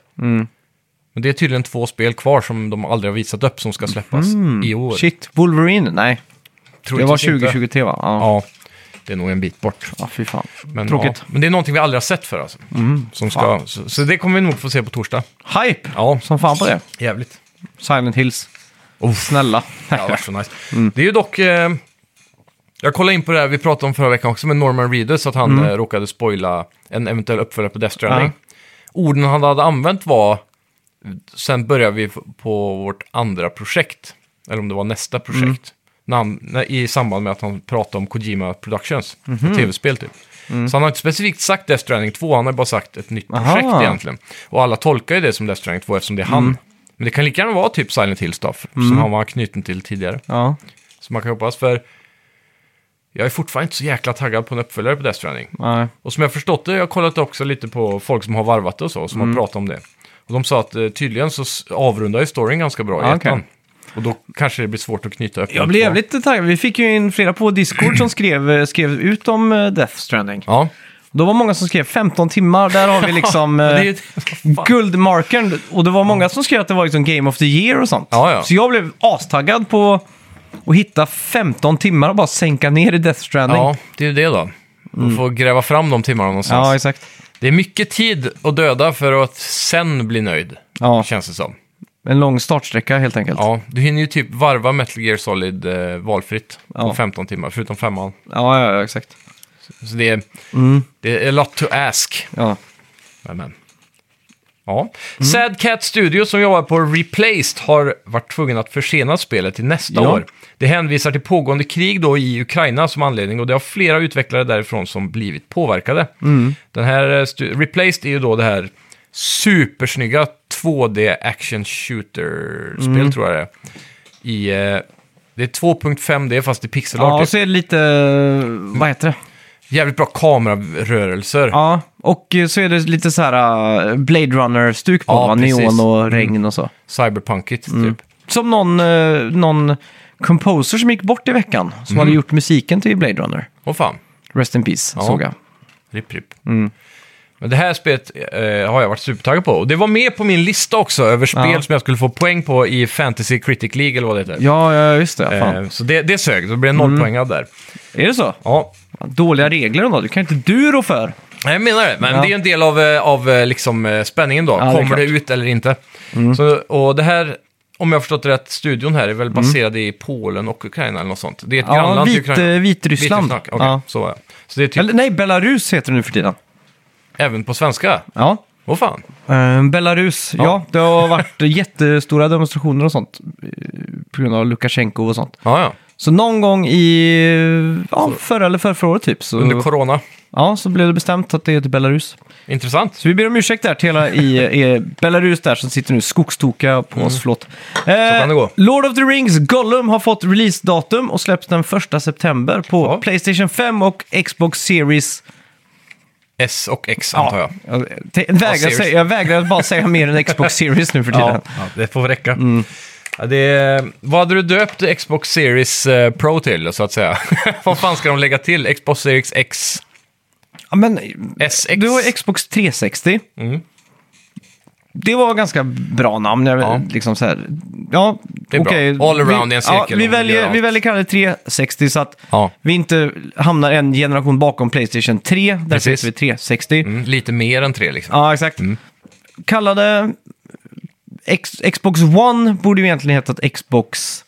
Men det är tydligen två spel kvar som de aldrig har visat upp som ska släppas i år. Mm. Shit, Wolverine? Nej, det var Troligtvis inte. 2023 va? Ja, ja. Ja, det är nog en bit bort. fy fan. Men, Tråkigt. Ja, men det är någonting vi aldrig har sett för alltså. som ska, så, så det kommer vi nog få se på torsdag. Hype! Ja, Som fan på det. jävligt. Silent Hills. Snälla. Det hade varit så nice. Det är ju dock... Eh, jag kollade in på det här vi pratade om förra veckan också med Norman Reedus, att han eh, råkade spoila en eventuell uppföljare på Death Stranding. Orden han hade använt var... Sen börjar vi f- på vårt andra projekt. Eller om det var nästa projekt. När han, när, I samband med att han pratade om Kojima Productions. ett Tv-spel typ. Så han har inte specifikt sagt Death Stranding 2, han har bara sagt ett nytt projekt Aha. egentligen. Och alla tolkar ju det som Death Stranding 2 eftersom det är han. Men det kan lika gärna vara typ Silent Hill Stuff, som han var knuten till tidigare. Ja. Så man kan hoppas, för jag är fortfarande inte så jäkla taggad på en uppföljare på Death Stranding. Nej. Och som jag förstått det, jag har kollat också lite på folk som har varvat det och så, som Mm. har pratat om det. Och de sa att eh, tydligen så s- avrundar ju storyn ganska bra i Ah, ettan. okej. Och då kanske det blir svårt att knyta upp Jag den blev två. jävligt taggad. Vi fick ju in flera på Discord som skrev, skrev ut om eh, Death Stranding. Ja, Då var många som skrev 15 timmar, där har vi liksom det är eh, ju... Fan. guldmarkern. Och det var många som skrev att det var liksom Game of the Year och sånt. Ja, ja. Så jag blev astaggad på att hitta 15 timmar och bara sänka ner i Death Stranding. Ja, det är ju det då. Man får gräva fram de timmarna någonstans. Mm. Ja, exakt. Det är mycket tid att döda för att sen bli nöjd, Ja, känns det som. en lång startsträcka helt enkelt. Ja, Ja, du hinner ju typ varva Metal Gear Solid eh, valfritt på Ja. 15 timmar, förutom femman. ja, ja, exakt. Så det är, Mm. det är a lot to ask. Ja. Men, men. Ja. Sad Cat Studio som jobbar på Replaced har varit tvungen att försena spelet till nästa Ja. år. Det hänvisar till pågående krig då i Ukraina som anledning och det har flera utvecklare därifrån som blivit påverkade. Mm. Den här eh, stu- Replaced är ju då det här supersnygga 2D action shooter-spel Mm. tror jag det är. I, eh, det är 2.5D fast i pixelart. Ja, typ. och så är det lite, vad heter det? Jävligt bra kamerarörelser. Ja, och eh, så är det lite så här eh, Blade Runner-stuk på, Ja, va? precis. Mm. neon och regn och så. Cyberpunkigt Mm. typ. Som någon, eh, någon composer som gick bort i veckan, Mm. som hade gjort musiken till Blade Runner. Åh fan. Rest in peace, Ja. såg jag. Rip, rip. Mm. Men det här spelet eh, har jag varit supertaggad på. Och det var med på min lista också över spel Ja. som jag skulle få poäng på i Fantasy Critic League eller vad det heter. Ja, ja just det. Fan. Mm. eh, så det, det sög, så blev det nollpoängad där. Är det så? Ja. Dåliga regler ändå, du kan inte du rå för. Nej, Jag menar det, men Ja. det är en del av, eh, av eh, liksom, eh, spänningen då. Ja, det är Kommer det, klart. Mm. ut eller inte? Så, och det här, om jag har förstått det rätt, studion här är väl baserad i Polen och Ukraina eller något sånt. Det är ett Ja, grannland till vit, Ukraina. eh, Vitryssland. Vitryssland, okej. Ja. Så var det. Så det är typ Eller, nej, Belarus heter det nu för tiden. även på svenska. Ja. Vad fan? Eh, Belarus, ja. Ja. Det har varit jättestora demonstrationer och sånt. eh, På grund av Lukasjenko och sånt. Ja, ja. Så någon gång i eh, ja, förra eller förrförra året typ Under så, corona. ja, så blev det bestämt att det heter Belarus. Intressant. Så vi ber om ursäkt där till hela i, i Belarus där som sitter nu skogstoka på oss, förlåt. Mm. Eh, kan det gå. Lord of the Rings Gollum har fått releasedatum och släpps den 1 september på Ja. Playstation 5 och Xbox Series. S och X antar jag. jag, te- vägrar Series. säga, jag vägrar bara säga mer än Xbox Series nu för tiden. det får räcka. Mm. Ja, det, vad hade du döpt Xbox Series eh, Pro till, så att säga? vad fan ska de lägga till? Xbox Series X, Ja, men, SX? du har Xbox 360. Mm. Det var ganska bra namn. Jag, Ja. liksom så här, ja, Det är bra. okej. All around vi, i en cirkel Ja, om vi, vi gör väljer, allt. vi väljer kalla det 360 så att Ja. vi inte hamnar en generation bakom Playstation 3. Där Precis. sitter vi 360. Mm, lite mer än tre liksom. Ja, exakt. Kalla det... X, Xbox One borde ju egentligen hetat Xbox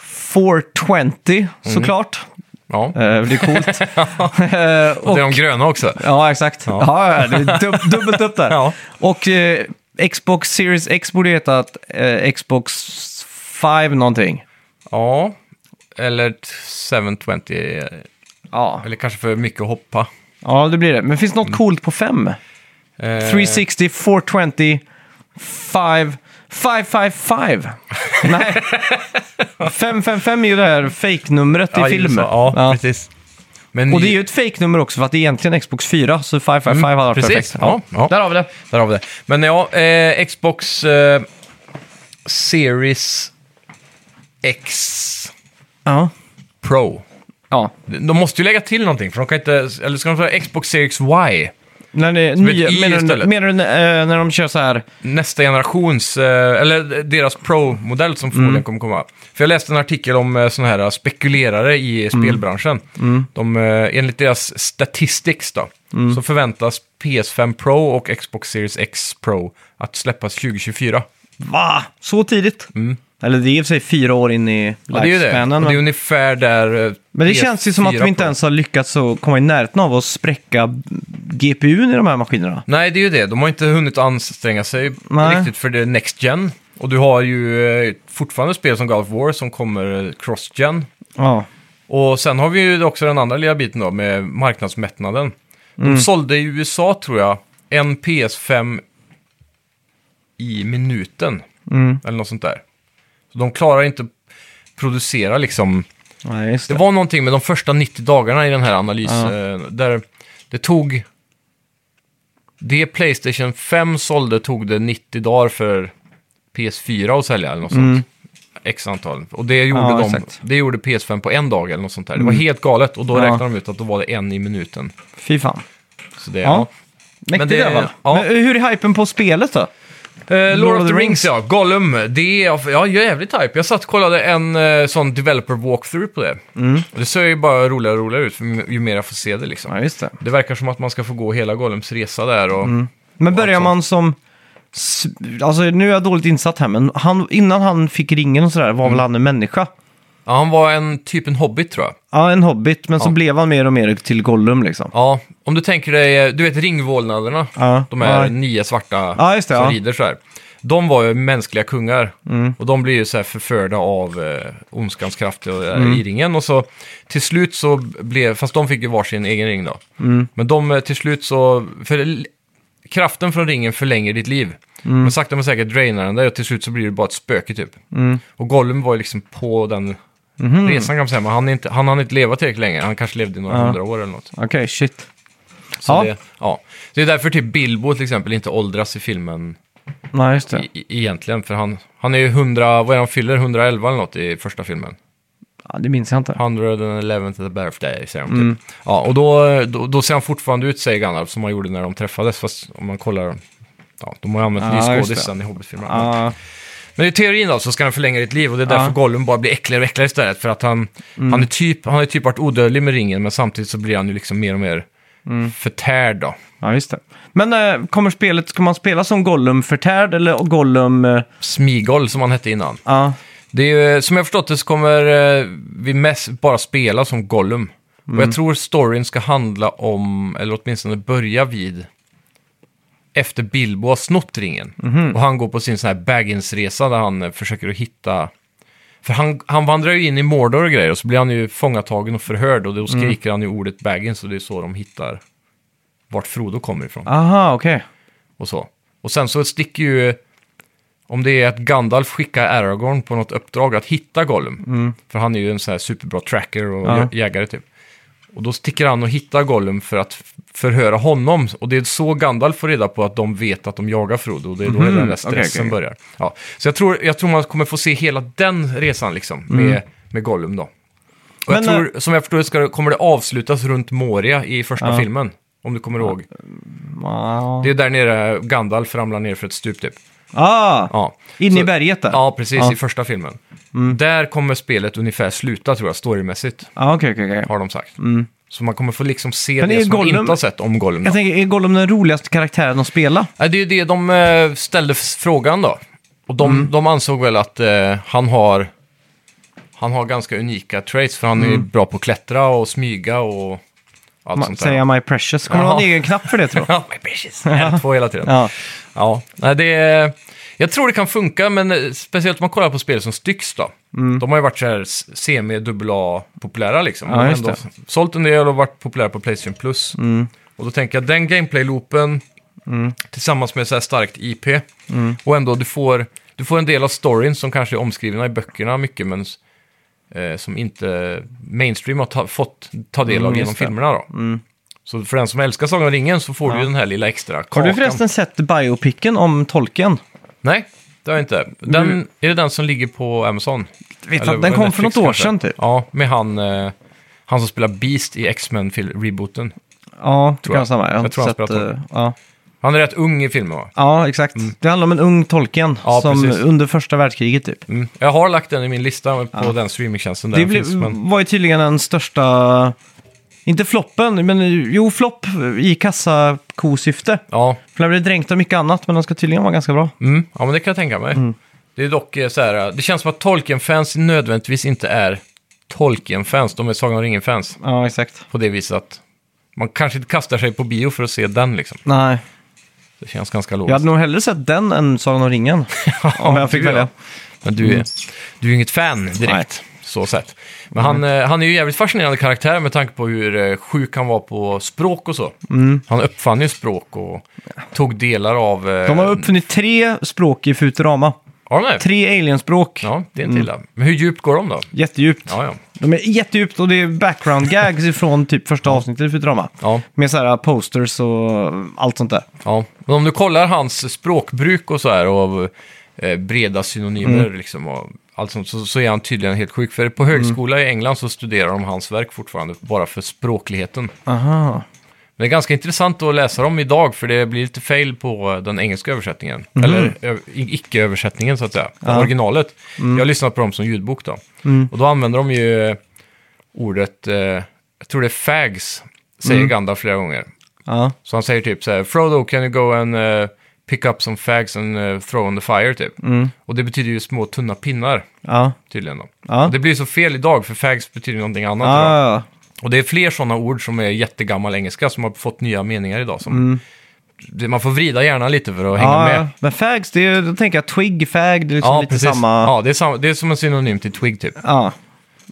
420 Mm. såklart. Ja. Eh, Det är coolt. Eh, Och det är de gröna också. Ja, exakt. Ja, ja, det är dub dubbelt upp där. Ja. Och eh, Xbox Series X borde heta att, eh, Xbox 5 någonting. Ja, eller t- 720, eh, Ja. eller kanske för mycket att hoppa. ja, det blir det. Men finns det något coolt på 5? Mm. Eh, 360, 420, 5, 555. Nej. 555 är ju det här fejknumret i ja, filmen. Ja, Ja. precis. Men Och det är ju ett fejknummer också för att det är egentligen Xbox 4, så 555 hade varit Mm, precis. perfekt. Ja, ja. Där har vi det. Där har vi det. Men ja, eh, Xbox eh, Series X Ja. Pro. ja. De måste ju lägga till någonting, för de kan inte... Eller ska de säga Xbox Series Y? När det, ett nya, i menar, du, istället. menar du eh, när de kör så här? Nästa generations... eh, Eller deras Pro-modell som förmodligen Mm. kommer komma. För jag läste en artikel om eh, såna här spekulerare i Mm. spelbranschen. De, eh, enligt deras statistics då, Mm. så förväntas PS5 Pro och Xbox Series X Pro att släppas 2024. Va? Så tidigt? Eller det är i och för sig fyra år in i Mm. Ja, det är ju E det. lifespanen. Och det är men- ungefär där... eh, Men det PS4 känns ju som att vi inte på- ens har lyckats att komma i närheten av att spräcka GPUn i de här maskinerna. Nej, det är ju det. De har inte hunnit anstränga sig Nej. riktigt för det är Next Gen. Och du har ju eh, fortfarande spel som God of War som kommer eh, Cross Gen. Ja. Och sen har vi ju också den andra lilla biten då med marknadsmättnaden. De Mm. sålde i USA, tror jag, en PS5 i minuten. Mm. Eller något sånt där. Så de klarar inte att producera liksom... Nej, just Det det. var någonting med de första 90 dagarna i den här analysen. Där det tog... Det Playstation 5 sålde tog det 90 dagar för PS4 att sälja eller något sånt. X antal. Och det gjorde, Ja, de, exakt. det gjorde PS5 på en dag eller något sånt där. Det var helt galet och då Ja. räknade de ut att då var det en i minuten. Fy fan. Så det, Ja. ja. Mäktigt det- i alla fall. ja. Men eh, hur är hypen på spelet då? Eh, Lord of the Rings, Rings, ja. Gollum. Det är jag är jävligt hype. Jag satt och kollade en eh, sån developer walkthrough på det. Och det ser ju bara roligare och roligare ut för ju- ju mer jag får se det liksom. Ja, just det. Det verkar som att man ska få gå hela Gollums resa där och... Men börjar Alltså. man som... s- Alltså nu är jag dåligt insatt här, men han, innan han fick ringen och sådär var Mm. väl han en människa? Ja, han var en typ en hobbit tror jag. Ja, en hobbit, men så Ja. blev han mer och mer till Gollum liksom. Ja, om du tänker dig, eh, du vet ringvålnaderna? Ja. De här Ja. nio svarta Ja, just det, som ja. Mm. rider så här. De var ju mänskliga kungar. Och de blir ju så här förförda av eh, ondskans kraft och, eh, Mm. i ringen. Och så till slut så blev, fast de fick ju varsin egen ring då. Mm. Men de eh, till slut så, för l- kraften från ringen förlänger ditt liv. Mm. Men sakta men säkert drainar den dig och till slut så blir det bara ett spöke typ. Mm. Och Gollum var ju liksom på den Mhm. resan kan man säga. Men han, är inte, han hann inte leva tillräckligt länge. Han kanske levde i några hundra år eller något. Okej, shit. Så Ja. Det, ja. det är därför typ Bilbo till exempel inte åldras i filmen Nej, just det. i, i- egentligen. För han, han är ju 100, vad är det han fyller? 111 eller något i första filmen. Ja, det minns jag inte. 111 to the birthday säger de typ. Mm. Ja, och då, då, då ser han fortfarande ut, säger Gandalf, som han gjorde när de träffades. Fast om man kollar, ja, de har ju använt Ja, ny just skådis det. sen i Hobbit-filmerna. Ja, Men i teorin då så ska han förlänga ditt liv och det är därför Ja. Mm. Gollum bara blir äckligare och äckligare istället. För att han, han, är typ, han är typ varit odödlig med ringen men samtidigt så blir han ju liksom mer och mer Mm. förtärd då. ja, just det. Men eh, kommer spelet, ska man spela som Gollum förtärd eller Gollum... eh, Smigol som han hette innan. Ja, Det är, ju- eh, som jag förstått det så kommer eh, vi mest bara spela som Gollum. Och jag tror storyn ska handla om, eller åtminstone börja vid, efter Bilbo har snott ringen. Och han går på sin sån här Baggins-resa där han eh, försöker att hitta... För han, han vandrar ju in i Mordor och grejer och så blir han ju fångatagen och förhörd och då skriker han ju ordet Baggins och det är så de hittar vart Frodo kommer ifrån aha, okej. och så. Och sen så sticker ju, om det är att Gandalf skickar Aragorn på något uppdrag att hitta Gollum, för han är ju en sån här superbra tracker och Mm. Ja. jä- jägare typ. Och då sticker han och hittar Gollum för att f- förhöra honom. Och det är så Gandalf får reda på att de vet att de jagar Frodo. Och det är då hela den där okej, okej, stressen Mm-hmm. okej. börjar. Ja. Så jag tror, jag tror man kommer få se hela den resan liksom med, med Gollum då. Och jag Mm. Men, eh, tror, som jag förstår det ska, det- kommer det avslutas runt Moria i första Ja. filmen. Om du kommer ihåg. Ja. Det är där nere Gandalf ramlar ner för ett stup typ. Ah, Ja. inne i Så- berget där? Ja, precis. Ja. Mm. I första filmen. Där kommer spelet ungefär sluta, tror jag, storymässigt, Ja, Ah, okej, okej, okej. har de sagt. Så man kommer få liksom se Mm. Men det är som Gollum- man inte har sett om Gollum. då. Jag tänker, är Gollum den roligaste karaktären att spela? Nej, det är ju det de eh, ställde f- frågan då. Och de, Mm. de ansåg väl att eh, han har... Han har ganska unika traits, för han är ju bra på att klättra och smyga och allt Mm. Ma- sånt där. Säga My Precious. Kommer du ha en Jaha. egen knapp för det tror jag? Ja, my precious. R2 hela tiden. Ja. Ja, nej, det är, jag tror det kan funka, men eh, speciellt om man kollar på spel som Styx då. De har ju varit så här s- semi a populära liksom. Mm. Ja, De har just ändå det. Mm. s- sålt en del och varit populära på Playstation Plus. Och då tänker jag den gameplay-loopen tillsammans med så här starkt IP. Mm. Och ändå, du får, du får en del av storyn som kanske är omskrivna i böckerna mycket, men s- eh, som inte mainstream har ta, fått ta del av Mm, genom just det. filmerna då. Så för den som älskar Sagan om ringen så får du ju den här lilla extra Har kakan. du förresten sett biopicken om tolken? Nej, det har jag inte. Den, Är det den som ligger på Amazon? Vet Eller att den var kom det för Netflix något år kanske? sedan typ. Ja, med han, eh, han som spelar Beast i X-Men-rebooten. Ja, tror jag. jag. Samma. Jag, har Jag inte tror han sett, spelar eh, ja. Han är rätt ung i filmen va? ja, exakt. Det handlar om en ung tolken Ja, som precis. under första världskriget typ. Mm. Jag har lagt den i min lista men på den streamingtjänsten där det mm. den blev, finns. Men... var ju tydligen den största, inte floppen, men jo flopp i kassakosyfte. Ja. För den blev dränkt av mycket annat, men den ska tydligen vara ganska bra. Mm. ja, men det kan jag tänka mig. Det är dock eh, så här, det känns som att Tolkien-fans nödvändigtvis inte är Tolkien-fans. De är Sagan om ringen-fans Ja, exakt. på det viset att man kanske inte kastar sig på bio för att se den liksom. Nej. Det känns ganska Jag hade logiskt. nog hellre sett den än Sagan om ringen. om jag fick du, ja. välja. Men du, Mm. är- du är ju inget fan direkt. Så sett. Men han, Mm. eh, han är ju jävligt fascinerande karaktär med tanke på hur eh, sjuk han var på språk och så. Mm. Han uppfann ju språk och tog delar av... eh, De har uppfunnit tre språk i Futurama. har de det? Tre alienspråk. Ja, det är Mm. inte illa. Men hur djupt går de då? Jättedjupt. Ja, ja. De är jättedjupt och det är background gags ifrån typ första avsnittet i Futurama. ja, Med så här posters och allt sånt där. ja. Men om du kollar hans språkbruk och så här och eh, breda synonymer Mm. liksom och allt sånt så, så är han tydligen helt sjuk. För på högskola i England så studerar de hans verk fortfarande bara för språkligheten. Aha. Men det är ganska intressant att läsa dem idag för det blir lite fail på eh, den engelska översättningen. Eller ö- i- icke-översättningen så att säga. Mm. Ja. Mm. Originalet. Jag har lyssnat på dem som ljudbok då. Och då använder de ju eh, ordet, eh, jag tror det är fags, säger Mm. Gandalf flera gånger. Ja. Så han säger typ så här, Frodo can you go and eh, pick up some fags and eh, throw on the fire typ. Mm. Och det betyder ju små tunna pinnar Ja. tydligen då. Ja. Ah, Och det blir så fel idag för fags betyder någonting annat. idag. Ja. Och det är fler sådana ord som är jättegammal engelska som har fått nya meningar idag. Som det, man får vrida hjärnan lite för att hänga Mm. ja. med. ja. Men fags, det är, då tänker jag twig, fag, det är liksom Ja, lite precis. samma. Ja, det är, samma, det är som en synonym till twig typ. Ja.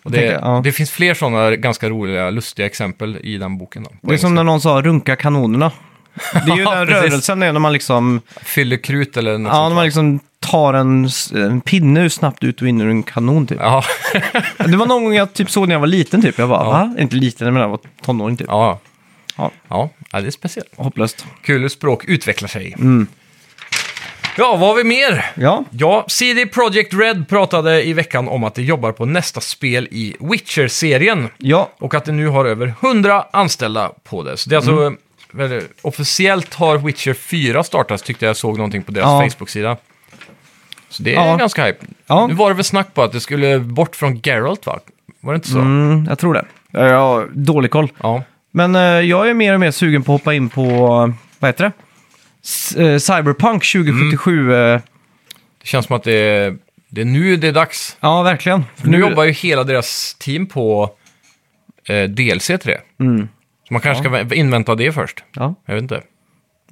Och det, tänker jag, ja. det finns fler sådana ganska roliga, lustiga exempel i den boken. Då, på Det är som engelska. när någon sa runka kanonerna. Det är ju Ja, den precis. rörelsen det är när man liksom, Fyller krut eller något ja, sånt. när man liksom tar en, s- en pinne ur snabbt ut och in ur en kanon typ. Ja, Det var någon gång jag typ såg när jag var liten typ. Jag bara, va? Inte liten, men jag var tonåring typ. ja. Ja. Ja. ja, det är speciellt. Hopplöst. Kul hur språk utvecklar sig. Ja, vad har vi mer? Mm. Ja. Ja, CD Projekt Red pratade i veckan om att de jobbar på nästa spel i Witcher-serien. Ja. Och att det nu har över 100 anställda på det. Så det är alltså, Mm. väl, officiellt har Witcher 4 startats tyckte jag såg någonting på deras Ja. Facebook-sida. Så det är Ja. ganska hype. Ja. Nu var det väl snack på att det skulle bort från Geralt va? Var det inte så? Mm, jag tror det. Ja, Jag har dålig koll. Ja. Men eh, jag är mer och mer sugen på att hoppa in på, eh, vad heter det? S- eh, Mm. Cyberpunk 2077. eh, Det känns som att det är, det är nu det är dags. Ja, verkligen. För Nu jobbar ju hela deras team på eh, DLC till det. Mm. Så man kanske ska invänta det först. Ja, Jag vet inte.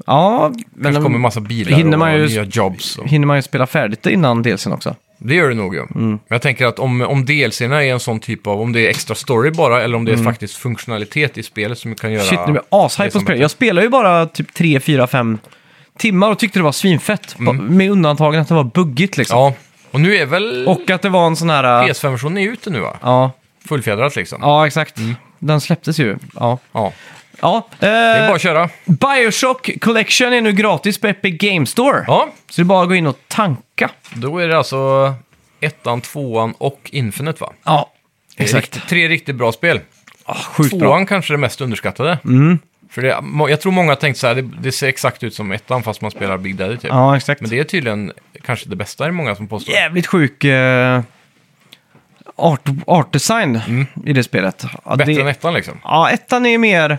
ja men Kanske de- kommer en massa bilar hinner man och ju- nya jobs. Och... hinner man ju spela färdigt det innan delsen också. Det gör det nog ju. Mm. Men jag tänker att om, om DLC är en sån typ av, om det är extra story bara, eller om det är faktiskt funktionalitet i spelet som kan göra... Mm. Shit, nu blir jag ashype det på som spel. bättre. Jag spelar ju bara typ 3, 4, 5 timmar och tyckte det var svinfett. Mm. Ba- Med undantagen att det var buggigt liksom. Ja, och nu är väl Och att det var en sån här... äh, PS5-versionen är ute nu va? Ja, Fullfjädrat liksom. ja exakt. Den släpptes ju. Ja. Ja. ja Det är eh, bara att köra. Bioshock Collection är nu gratis på Epic Game Store. Ja, Så det är bara att gå in och tanka. då är det alltså ettan, tvåan och Infinite va? Ja, Det är exakt. Riktigt, tre riktigt bra spel. Ah, sjukt bra. Mm. Tvåan kanske är det mest underskattade. För det, må- jag tror många har tänkt så här, det, det ser exakt ut som ettan fast man spelar Big Daddy typ. Ja, exakt. Men det är tydligen kanske det bästa är det många som påstår. Jävligt sjuk eh, art, artdesign i det spelet. Ja, Mm. Bättre det, än ettan liksom. Ja, ettan är mer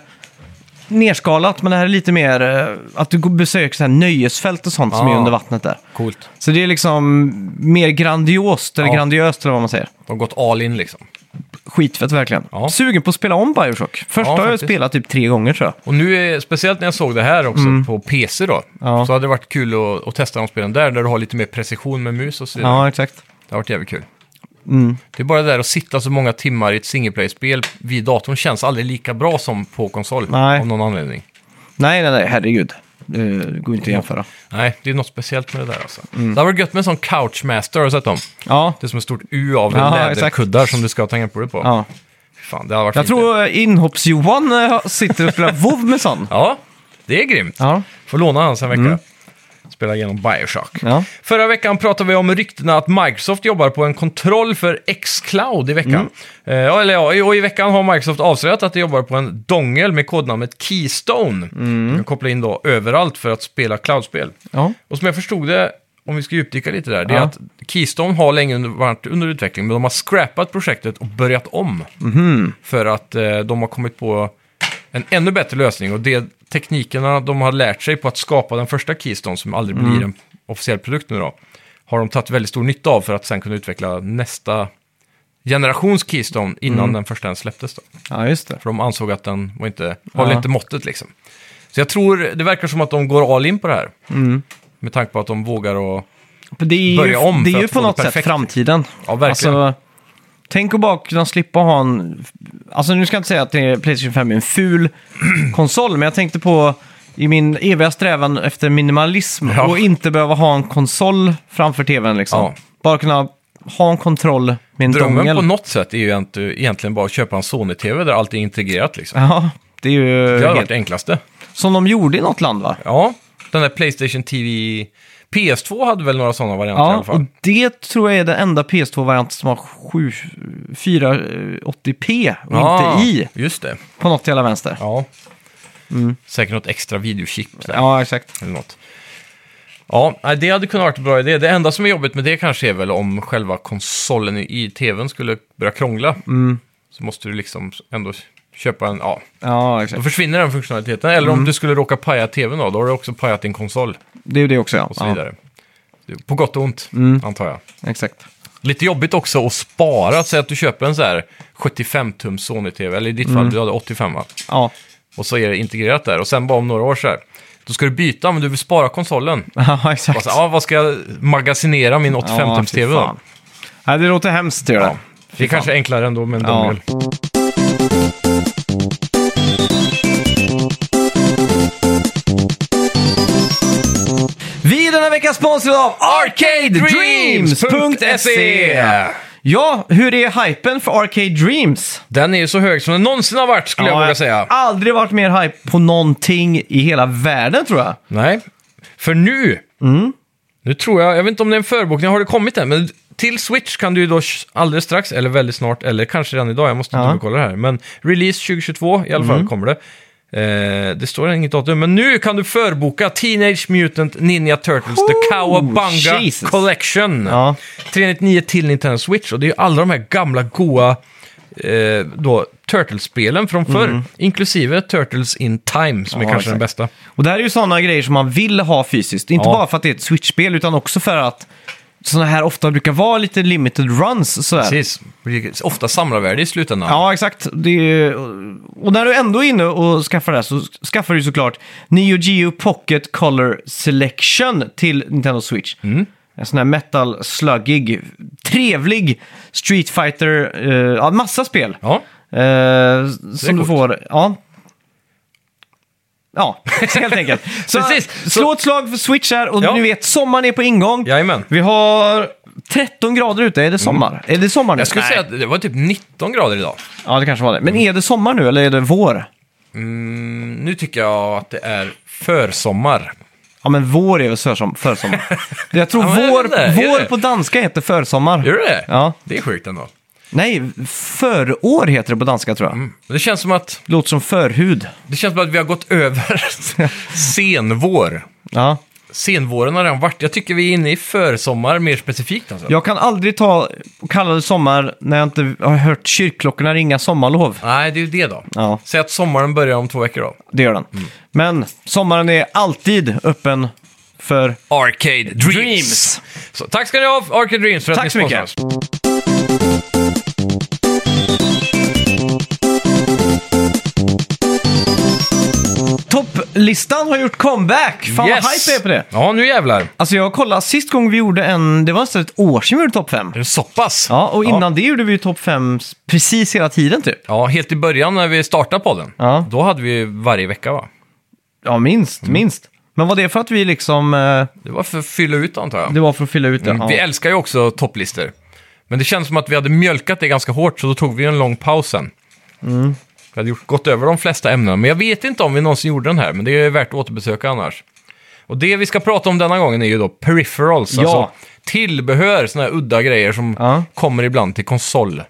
nerskalat, men det här är lite mer eh, att du går- besöker så här nöjesfält och sånt som Ja. är under vattnet där. Coolt. Så det är liksom mer grandiost, eller Ja. grandiöst eller vad man säger. De har gått all in liksom. Skitfett verkligen. Ja. Sugen på att spela om Bioshock. Första Ja, har jag faktiskt. spelat typ tre gånger tror jag. Och nu, är, speciellt när jag såg det här också på PC då, Mm. Ja. så hade det varit kul att, att testa de spelen där, där du har lite mer precision med mus och så vidare. Ja, Mm. exakt. Det har varit jävligt kul. Det är bara det där att sitta så många timmar i ett singleplay-spel vid datorn känns aldrig lika bra som på konsol Nej. av någon anledning. Nej, nej, nej, herregud. Det går inte att jämföra. Nej, det är något speciellt med det där alltså. Mm. Det hade varit gött med en sån couchmaster, har du sett dem? Ja. Det är som ett stort U av Jaha, läderkuddar som du ska ha tangentbordet på. ja. Fan, det hade varit Jag fint. tror eh, inhopps-Johan eh, sitter och spelar WoW med sån. Ja, det är grymt. Ja. Mm. Får låna hans en vecka. Spela igenom Bioshock. Ja. Förra veckan pratade vi om ryktena att Microsoft jobbar på en kontroll för X-Cloud i veckan. Eh, ja, eller ja, och i veckan har Microsoft avslöjat att de jobbar på en dongel med kodnamnet Keystone. Du kan koppla in då överallt för att spela cloudspel. ja. Och som jag förstod det, om vi ska djupdyka lite där, det är Ja. att Keystone har länge under, varit under utveckling, men de har scrappat projektet och börjat om. För att eh, de har kommit på en ännu bättre lösning och det teknikerna de har lärt sig på att skapa den första Keystone, som aldrig blir en officiell produkt nu då, har de tagit väldigt stor nytta av för att sen kunna utveckla nästa generations Keystone innan den första ens släpptes. Då. Ja, just det. För de ansåg att den var inte, håller Ja. inte måttet liksom. Så jag tror, det verkar som att de går all in på det här. Mm. Med tanke på att de vågar och... Det är ju, Börja om det för är ju att få på det något sätt perfekt. framtiden. Ja, verkligen. Alltså, tänk att bara kunna slippa ha en... Alltså nu ska jag inte säga att det är Playstation 5 är en ful konsol, men jag tänkte på i min eviga strävan efter minimalism Ja. och inte behöva ha en konsol framför tvn liksom. Ja. Bara kunna ha en kontroll med en Drömmen dongel. på något sätt är ju egent- egentligen bara att köpa en Sony-TV där allt är integrerat liksom. ja, det är ju Det har varit helt... det enklaste. Som de gjorde i något land va? Ja, den där Playstation TV... PS2 hade väl några sådana varianter i alla Ja, och fall. det tror jag är den enda PS2-varianten som har 7, 480p och Ja, inte i Mm. Just det. på något jävla vänster. Ja. Säkert något extra videochip där, Ja, exakt. eller något. Ja, nej, det hade kunnat varit en bra idé. Det enda som är jobbigt med det kanske är väl om själva konsolen i- i tvn skulle börja krångla. Så måste du liksom ändå köpa en, ja, Ja, då exakt. försvinner den funktionaliteten. Eller om du skulle råka paja tvn då, då har du också pajat din konsol Det är ju det också, ja. och så vidare. Det- På gott och ont, antar jag. ja exakt. Lite jobbigt också att spara, säg att du köper en så här 75-tums Sony-TV, eller i ditt fall, du hade 85 va? Ja. Och så är det integrerat där. Och sen bara om några år så här. Då ska du byta, men du vill spara konsolen. ja, Bara exakt. så, här, ah, vad ska jag magasinera min 85-tums-TV Ja, fy då? fan. Nej, det låter hemskt, det gör det. Det är kanske är enklare ändå, men Ja. ja. Vi är den här veckan sponsrade av E. E. ArcadeDreams.se! Ja, hur är hypen för Arcade Dreams? Den är ju så hög som den någonsin har varit, skulle jag våga säga. har aldrig varit mer hype på någonting i hela världen, tror jag. Nej, för nu... Mm. Nu tror jag, jag vet inte om det är en förbokning, har det kommit än? Men till Switch kan du ju då sh- alldeles strax, eller väldigt snart, eller kanske redan idag, jag måste Ja. Mm. dubbelkolla det här. Men release 2022 i alla fall kommer det. Eh, det står inget datum, men nu kan du förboka Teenage Mutant Ninja Turtles The Oh, Cowabunga Jesus. Collection. Ja. 399 till Nintendo Switch, och det är ju alla de här gamla goa eh, då, Turtles-spelen från förr. Inklusive Turtles in Time, som är Mm. Ja, kanske den exakt. bästa. Och det här är ju sådana grejer som man vill ha fysiskt. Inte Ja. bara för att det är ett Switch-spel, utan också för att sådana här ofta brukar vara lite limited runs. Sådär. Precis. Det är Ofta samlarvärde i slutändan. Ja, exakt. Det är, ju- och när du ändå är inne och skaffar det här så skaffar du såklart Neo Geo Pocket Color Selection till Nintendo Switch. Mm. En sån här metal sluggig, trevlig Street Fighter, eh, ja, massa spel. Ja. Eh, som du coolt. får, ja. Ja, helt enkelt. Så Precis. Så- slå ett slag för Switch här och Ja. ni vet, sommaren är på ingång. Jajamän. Mm. Vi har 13 grader ute, är det sommar? Är det sommar nu? Jag skulle Nej. säga att det var typ 19 grader idag. Ja, det kanske var det. Men är det sommar nu eller är det vår? Mm, nu tycker jag att det är försommar. Ja, men vår är väl försom- försommar. jag tror Ja, men jag vår, vet inte. Är vår det? på danska heter försommar. Gör det Ja. Det är sjukt ändå. Nej, förår heter det på danska tror jag. Det känns som att, Låter som förhud. det känns som att vi har gått över senvår. Ja. Senvåren har redan varit. Jag tycker vi är inne i försommar mer specifikt. Alltså. Jag kan aldrig ta och kalla det sommar när jag inte har hört kyrkklockorna ringa sommarlov. Nej, det är ju det då. Ja. Säg att sommaren börjar om två veckor då. Det gör den. Mm. Men sommaren är alltid öppen för... Arcade Dreams. Dreams. Så, tack ska ni ha, Arcade Dreams, för att Tack ni så mycket. sponsrar oss. Topplistan har gjort comeback! Fan vad hype jag är på det! Ja, nu jävlar. Alltså jag kollade, sist gång vi gjorde en, det var nästan ett år sedan vi gjorde topp 5. Är det så pass? Ja, och innan det gjorde vi ju topp 5 precis hela tiden typ. Ja, helt i början när vi startade podden. Ja. Då hade vi varje vecka va? Ja, minst, Mm. minst. Men var det för att vi liksom, eh, Det var för att fylla ut antar jag. det var för att fylla ut det? Mm, Vi Ja. älskar ju också topplistor. Men det känns som att vi hade mjölkat det ganska hårt, så då tog vi en lång paus sen. Mm. Vi hade gjort, gått över de flesta ämnena, men jag vet inte om vi någonsin gjorde den här, men det är värt att återbesöka annars. Och det vi ska prata om denna gången är ju då peripherals, Ja. alltså tillbehör, sådana här udda grejer som Ja. kommer ibland till konsol.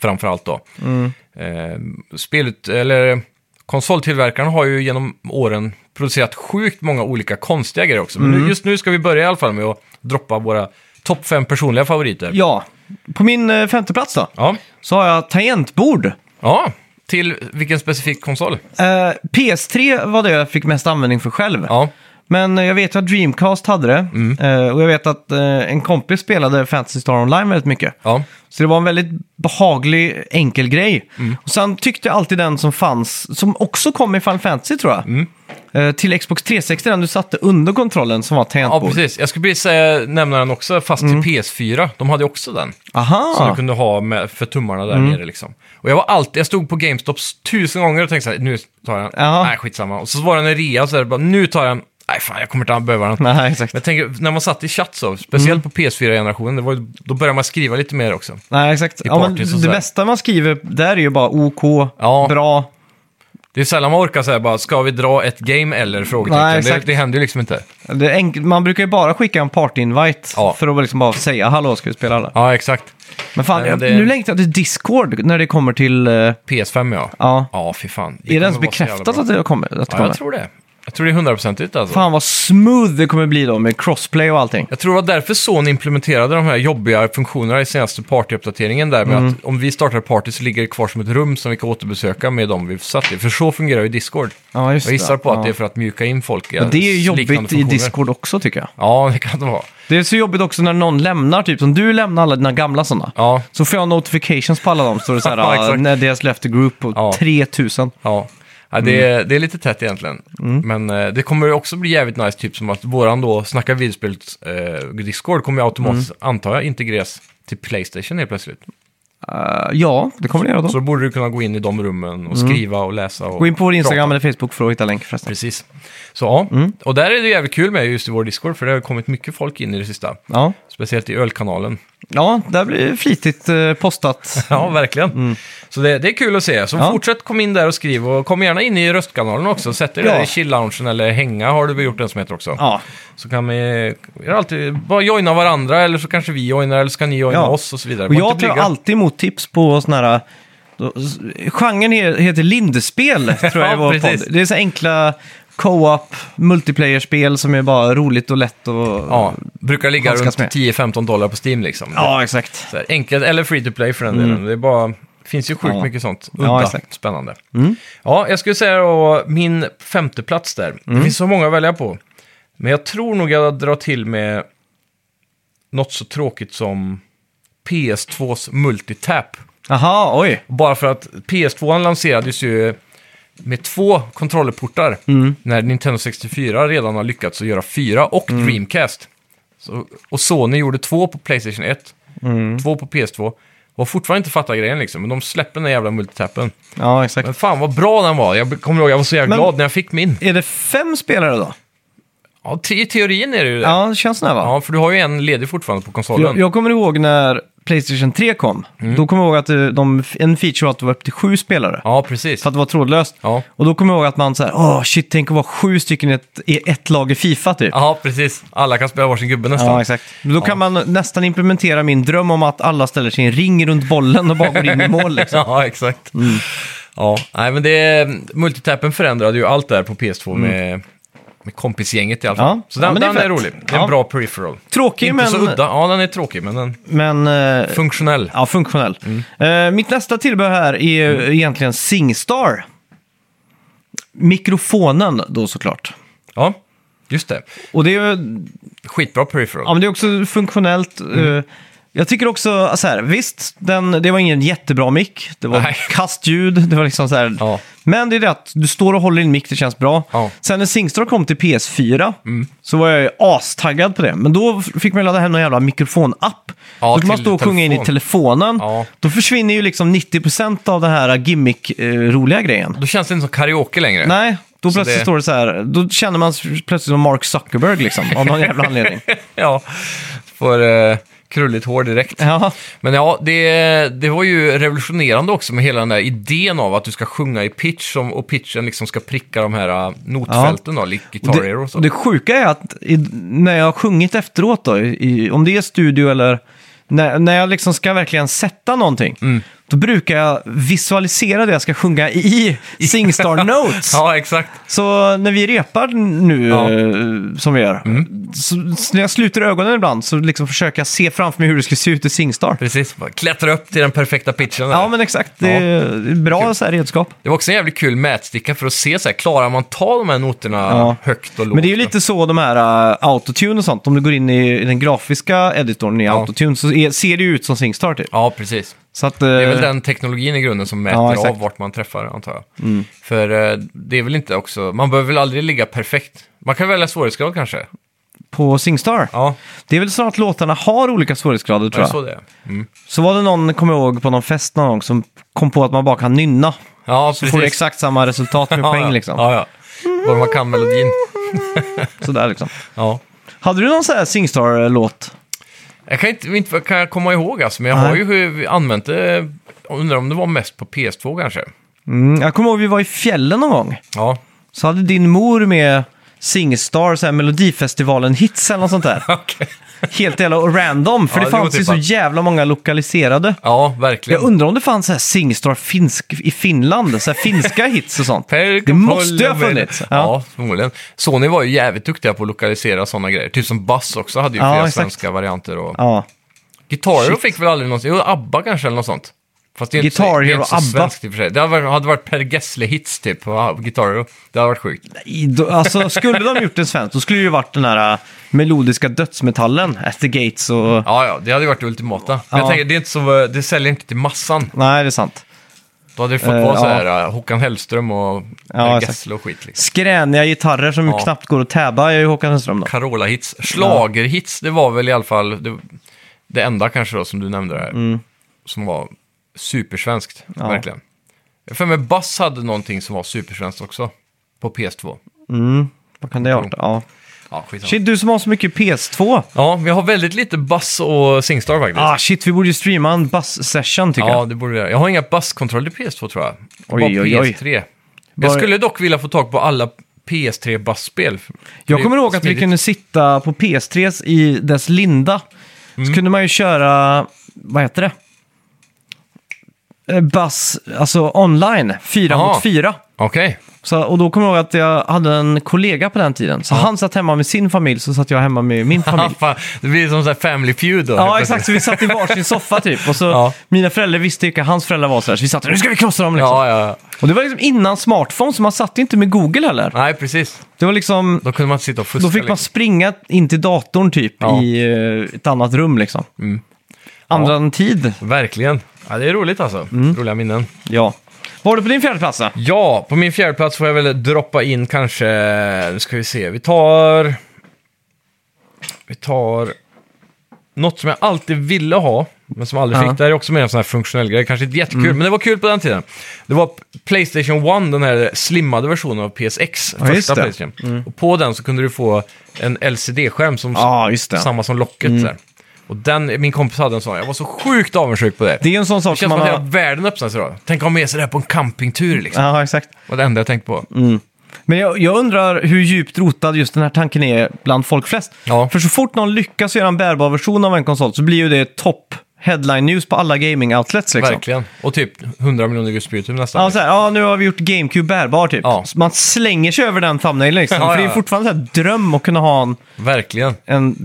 Framförallt då. Mm. Eh, spelut, eller, konsoltillverkarna har ju genom åren producerat sjukt många olika konstiga grejer också. Men nu, just nu ska vi börja i alla fall med att droppa våra topp fem personliga favoriter. ja. På min eh, femte plats då, Ja. så har jag tangentbord. ja, till vilken specifik konsol? Eh, PS3 var det jag fick mest användning för själv. Ja, Men eh, jag vet ju att Dreamcast hade det. Mm. Eh, och jag vet att eh, en kompis spelade Fantasy Star Online väldigt mycket. Ja. Så det var en väldigt behaglig, enkel grej. Mm. Och sen tyckte jag alltid den som fanns, som också kom i Final Fantasy tror jag. Mm. Eh, till Xbox 360, den du satte under kontrollen som var ja, tangentbord. precis. Jag skulle precis säga, nämna den också, fast till PS4. De hade ju också den. Aha! Som du kunde ha med, för tummarna där nere liksom. Och jag var alltid, jag stod på GameStops tusen gånger och tänkte så här, nu tar jag den. Ja. Nej, skitsamma. Och så var den en rea, så här, bara, nu tar jag den. Nej, fan, jag kommer inte att behöva den. Nej, exakt. Men jag tänker, när man satt i chatt så, Mm. speciellt på PS4-generationen, det var ju- då började man skriva lite mer också. Nej, exakt. Ja, men parties och det sådär. mesta man skriver där är ju bara OK, Ja. bra. Det är sällan man orkar säga bara, ska vi dra ett game eller? Nej, Frågetecken. Det, exakt. det händer ju liksom inte. Det är enk- man brukar ju bara skicka en party-invite Ja. för att liksom bara säga hallå, ska vi spela alla? Ja, exakt. Men fan, Nej, men jag, det- nu längtar jag till Discord när det kommer till... eh, PS5 ja. Ja. Ja, fy fan. är det ens kommer vara så jävla bekräftat bra. att det kommer? Att det Ja, kommer? jag tror det. Jag tror det är hundraprocentigt alltså. Fan vad smooth det kommer bli då med crossplay och allting. Jag tror det var därför Sony implementerade de här jobbiga funktionerna i senaste partyuppdateringen där Mm. med att om vi startar party så ligger det kvar som ett rum som vi kan återbesöka med dem vi satt i. För så fungerar ju Discord. Ja, just Jag gissar det. på att Ja. det är för att mjuka in folk i Men det är ju liknande jobbigt i funktioner. Discord också tycker jag. Ja, det kan det vara. Det är så jobbigt också när någon lämnar, typ som du lämnar alla dina gamla sådana. Ja, Så får jag notifications på alla dem, står det så här, Ja, ja, exakt. när deras left the group på Ja. 3000. ja. ja det, Mm. är, det är lite tätt egentligen. Men eh, det kommer ju också bli jävligt nice, typ som att våran då Snacka videospels eh, Discord kommer ju automatiskt, Mm. antar jag, integreras till Playstation helt plötsligt. Eh, ja, det kommer det göra då. Mm. Så då borde du kunna gå in i de rummen och skriva och läsa och Gå in på vår Instagram Mm. prata. eller Facebook för att hitta länk förresten. Precis. Så ja, och där är det jävligt kul med just i vår Discord, för det har kommit mycket folk in i det sista. Ja, Speciellt i ölkanalen. ja där blir det flitigt eh, postat. Ja, verkligen. Så det, det är kul att se. Så Mm. Ja. fortsätt kom in där och skriv, och kom gärna in i röstkanalen också. Sätt er Ja. där i chill-loungen eller hänga har du väl gjort en som heter också. ja, Så kan vi, vi har alltid, bara joina varandra, eller så kanske vi joinar, eller så kan ni joina Ja. oss och så vidare. och Var jag inte tar blyga. alltid emot tips på sådana här... Då, s- genren he- heter lindspel, tror jag Ja, i vår precis. podd. Det är så enkla co-op, multiplayer-spel som är bara roligt och lätt och... Ja, brukar ligga Handskas runt med. 10-15 dollar på Steam liksom. ja exakt. Så här, enkelt, eller free to play för den delen. Det är bara, finns ju sjukt Mm. Ja. mycket sånt. Ja, Udda, exakt. Mm. spännande. Ja, jag skulle säga då min femte plats där. Mm. Det finns så många att välja på. Men jag tror nog jag drar till med något så tråkigt som PS2s multitap. Aha, oj. Bara för att PS2 lanserades ju med två kontrollerportar Mm. när Nintendo 64 redan har lyckats att göra fyra och Mm. Dreamcast. Så, och Sony gjorde två på Playstation 1, Mm. två på PS2. Och har fortfarande inte fattat grejen liksom, men de släpper den där jävla multitappen. Ja, exakt. Men fan vad bra den var, jag kommer ihåg jag var så jävla Men- glad när jag fick min. Är det fem spelare då? Ja, te- i teorin är det ju det. Ja, det känns sådär va? Ja, för du har ju en ledig fortfarande på konsolen. Jag, jag kommer ihåg när Playstation 3 kom. Då kommer jag ihåg att eh, de, en feature var att det var upp till sju spelare. Mm. Ja, precis. För att det var trådlöst. Ja. Och då kommer jag ihåg att man såhär, åh shit, tänk att vara sju stycken i ett, i ett lag i Fifa typ. ja, precis. Alla kan spela varsin gubbe nästan. Ja, exakt. Men Då kan man nästan implementera min dröm om att alla ställer sig i en ring runt bollen och bara går in i mål. Liksom. Ja, exakt. Ja, nej men det... Multitappen förändrade ju allt där på PS2 med, med kompisgänget i alla fall. Mm. Ja, Så den, ja, men det är den är, fett. rolig. Det är Ja. en bra peripheral. Tråkig Inte men, så udda. Ja, den är tråkig, men den men eh, funktionell. ja, funktionell. Eh, mitt nästa tillbehör här är mm. egentligen Singstar. Mikrofonen då såklart. Ja, just det. Och det är ju Skitbra peripheral. Ja, men det är också funktionellt. Mm. Eh, Jag tycker också så här, visst, den, det var ingen jättebra mick. Det var Nej. kastljud, det var liksom så här. Ja. Men det är det att du står och håller i en mick, det känns bra. Ja. Mm. Sen när Singstar kom till PS4 så var jag ju astaggad på det. Men då f- fick man ladda hem någon jävla mikrofonapp. Ja, då kan man till stå och sjunga in i telefon. telefonen. Ja. Då försvinner ju liksom 90% av den här gimmick-roliga grejen. Då känns det inte som karaoke längre. Nej, då plötsligt det- står det så här, då känner man sig plötsligt som Mark Zuckerberg liksom, av någon jävla anledning. Ja, får eh, krulligt hår direkt. Ja. Men ja, det, det var ju revolutionerande också med hela den där idén av att du ska sjunga i pitch som, och pitchen liksom ska pricka de här eh, notfälten då, likt Guitar Det, Hero och så. och det sjuka är att i, när jag har sjungit Mm. efteråt, då, i, om det är studio eller när, när jag liksom ska verkligen sätta någonting, Då brukar jag visualisera det jag ska sjunga i Singstar Notes. Ja, exakt. Så när vi repar nu, Ja. Mm. eh, som vi gör, så, så när jag sluter ögonen ibland så liksom försöker jag se framför mig hur det skulle se ut i Singstar. Precis. Bara Klättra upp till den perfekta pitchen. där. Ja, men exakt. Det är bra så här redskap. Det var också en jävligt kul mätsticka för att se så här, klarar man ta de här noterna Ja. högt och lågt? Men det är ju lite så de här uh, autotune och sånt, om du går in i, i den grafiska editorn i autotune så är, ser det ju ut som Singstar typ. Ja, precis. Så att, äh, Det är väl den teknologin i grunden som mäter Eh. Ja, exakt. Mm. av vart man träffar, antar jag. För eh, det är väl inte också, man behöver väl aldrig ligga perfekt. Man kan välja svårighetsgrad kanske. På Singstar. Ja, Det är väl snart låtarna har olika svårighetsgrader tror jag jag. såg det. Mm. Så var det någon, kommer jag ihåg, på någon fest någon gång som kom på att man bara kan nynna. Ja, Så precis. får du exakt samma resultat med Ja, ja. poäng liksom. Ja, ja. Bara man kan melodin. Sådär liksom. Ja. Hade du någon sån här Singstar-låt? Jag kan inte, inte kan jag komma ihåg alltså, men jag Nej. har ju använt det, undrar om det var mest på PS2 kanske. Mm, jag kommer ihåg vi var i fjällen någon gång. Ja, Så hade din mor med Singstar, så här Melodifestivalen-hits eller något sånt där. okej. Helt jävla random, för Ja, det det var fanns ju typ så att- jävla många lokaliserade. Ja, verkligen. Jag undrar om det fanns så här Singstar finsk, i Finland, så här finska hits och sånt. Per Det måste ju ha kontroll- funnits. Ja. Ja. förmodligen. Sony var ju jävligt duktiga på att lokalisera sådana grejer. Typ som Bass också hade ju Ja, flera exakt. svenska varianter. Och... Ja, Guitar Hero Shit. fick väl aldrig någonsin, jo ABBA kanske eller något sånt. Fast det är inte så- Guitar det är Hero, inte så ABBA. svenskt i och för sig. Det hade varit- hade varit Per Gessle-hits typ på Guitar Hero. Det hade varit sjukt. I- då- alltså skulle de gjort en svensk, då skulle det ju varit den här äh, melodiska dödsmetallen, At the Gates och... Ja, ja, det hade ju varit det ultimata. Men Ja. jag tänker, det, är inte så, det säljer inte till massan. Nej, det är sant. Då hade det fått Eh, vara så ja. här eh, Håkan Hellström och Ja, Per exakt. Gessle och skit. Liksom. Skräniga gitarrer som Ja. knappt går att täba är ju Håkan Hellström då. Carola-hits. Schlager-hits, det var väl i alla fall det, det enda kanske då som du nämnde där. Som var supersvenskt, Mm. Ja. verkligen. Jag för mig Bass hade någonting som var supersvenskt också. På PS2. Vad kan det ha varit? Ja. Ja, skitsamma. Shit, du som har så mycket PS2. Ja, vi har väldigt lite Bass och Singstar faktiskt. Ah, shit, vi borde ju streama en bass-session tycker ja, jag. det borde vi göra. Jag har inga basskontroller till PS2 tror jag. Oj, Bara oj, oj. PS3. Jag Bara- skulle dock vilja få tag på alla PS3 bassspel. Jag kommer ihåg att vi kunde sitta på PS3 i dess linda. Mm. Så kunde man ju köra, vad heter det? Eh, Bass, alltså online, fyra Aha. mot fyra. Okej. Så, och då kommer jag ihåg att jag hade en kollega på den tiden. Så han satt hemma med sin familj, så satt jag hemma med min Ah, familj. fan. Det blir som så här Family Feud då. helt Ja, plötsligt. exakt. Så vi satt i varsin soffa typ. Och så Ja. mina föräldrar visste ju vilka hans föräldrar var. Så, där, så vi satt där, nu ska vi krossa dem liksom. Ja, ja, ja. Och det var liksom innan smartphone, så man satt inte med Google heller. Nej, precis. Det var liksom... Då kunde man inte sitta och fuska. Då fick man liksom. springa in till datorn typ Ja. Mm. i eh, ett annat rum liksom. Andra än tid, liksom. Verkligen. Ja, det är roligt alltså. Mm. Roliga minnen. ja. Vad har du på din fjärde plats då? Ja, på min fjärde plats får jag väl droppa in kanske... Nu ska vi se. Vi tar... Vi tar... Något som jag alltid ville ha, men som jag aldrig Ja. Mm. fick. Det här är också mer en sån här funktionell grej. Kanske inte jättekul, men det var kul på den tiden. Det var Playstation 1, den här slimmade versionen av PSX. Ja, just första det. Mm. Playstation. Och på den så kunde du få en LCD-skärm som Ja, Mm. just det. samma som locket. Så här. Och den, min kompis hade en sån. Jag var så sjukt avundsjuk på det. Det är ju en sån Det sak som känns som man att har... hela världen öppnas idag. Tänk att ha med sig det här på en campingtur liksom. Ja, Mm. exakt. Det var det enda jag tänkte på. Men jag, jag undrar hur djupt rotad just den här tanken är bland folk flest. Ja. För så fort någon lyckas göra en bärbar version av en konsol så blir ju det topp headline news på alla gaming-outlets liksom. Verkligen. Och typ 100 miljoner Guds på YouTube nästan. Ja, så här, ja, nu har vi gjort GameCube bärbar typ. Ja. Så Man slänger sig över den thumbnailen liksom. Ja, För ja, det är ju ja. fortfarande en dröm att kunna ha en, Verkligen. en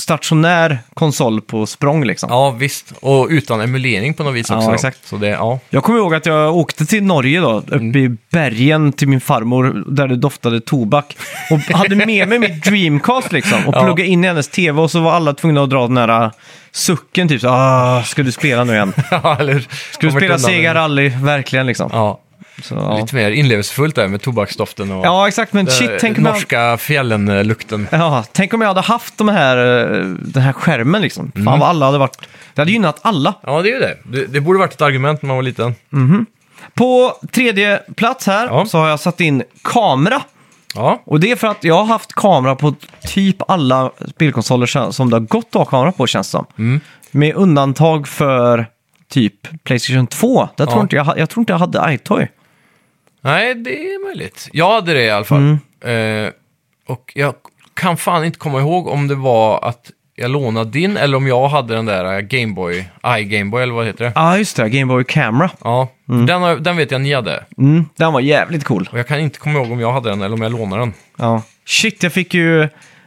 stationär konsol på språng liksom. Ja, visst. Och utan emulering på något vis Ja, också. då. exakt. Så det, ja. Jag kommer ihåg att jag åkte till Norge då, uppe Mm. i bergen till min farmor där det doftade tobak. Och hade med mig mitt Dreamcast liksom och Ja. pluggade in i hennes tv och så var alla tvungna att dra den här äh, sucken typ så ah, ska du spela nu igen? Ja, Eller, Ska du spela Sega segar? Rally, verkligen liksom. Ja. Så, ja. Lite mer inlevelsefullt där med tobaksdoften och ja, exakt, men den shit, tänk om, jag, norska eh, fjällen-lukten. ja, tänk om jag hade haft de här, eh, den här skärmen liksom. Mm. Fan vad alla hade varit, det hade gynnat alla. Ja, det är ju det. det. Det borde varit ett argument när man var liten. På tredje plats här Ja. så har jag satt in kamera. Ja, Och det är för att jag har haft kamera på typ alla spelkonsoler sen- som det har gått att ha kamera på känns det som. Mm. Med undantag för typ Playstation 2. Där tror Ja. inte jag, ha- jag tror inte jag hade iToy. nej, det är möjligt. Jag hade det i alla fall. Eh, och jag kan fan inte komma ihåg om det var att jag lånade din eller om jag hade den där Gameboy, iGameboy eller vad heter det? Ja, ah, just det. Game Boy Camera. Ja, den, har- den vet jag ni hade. Mm, den var jävligt cool. Och jag kan inte komma ihåg om jag hade den eller om jag lånade den. Ja. Shit, jag fick ju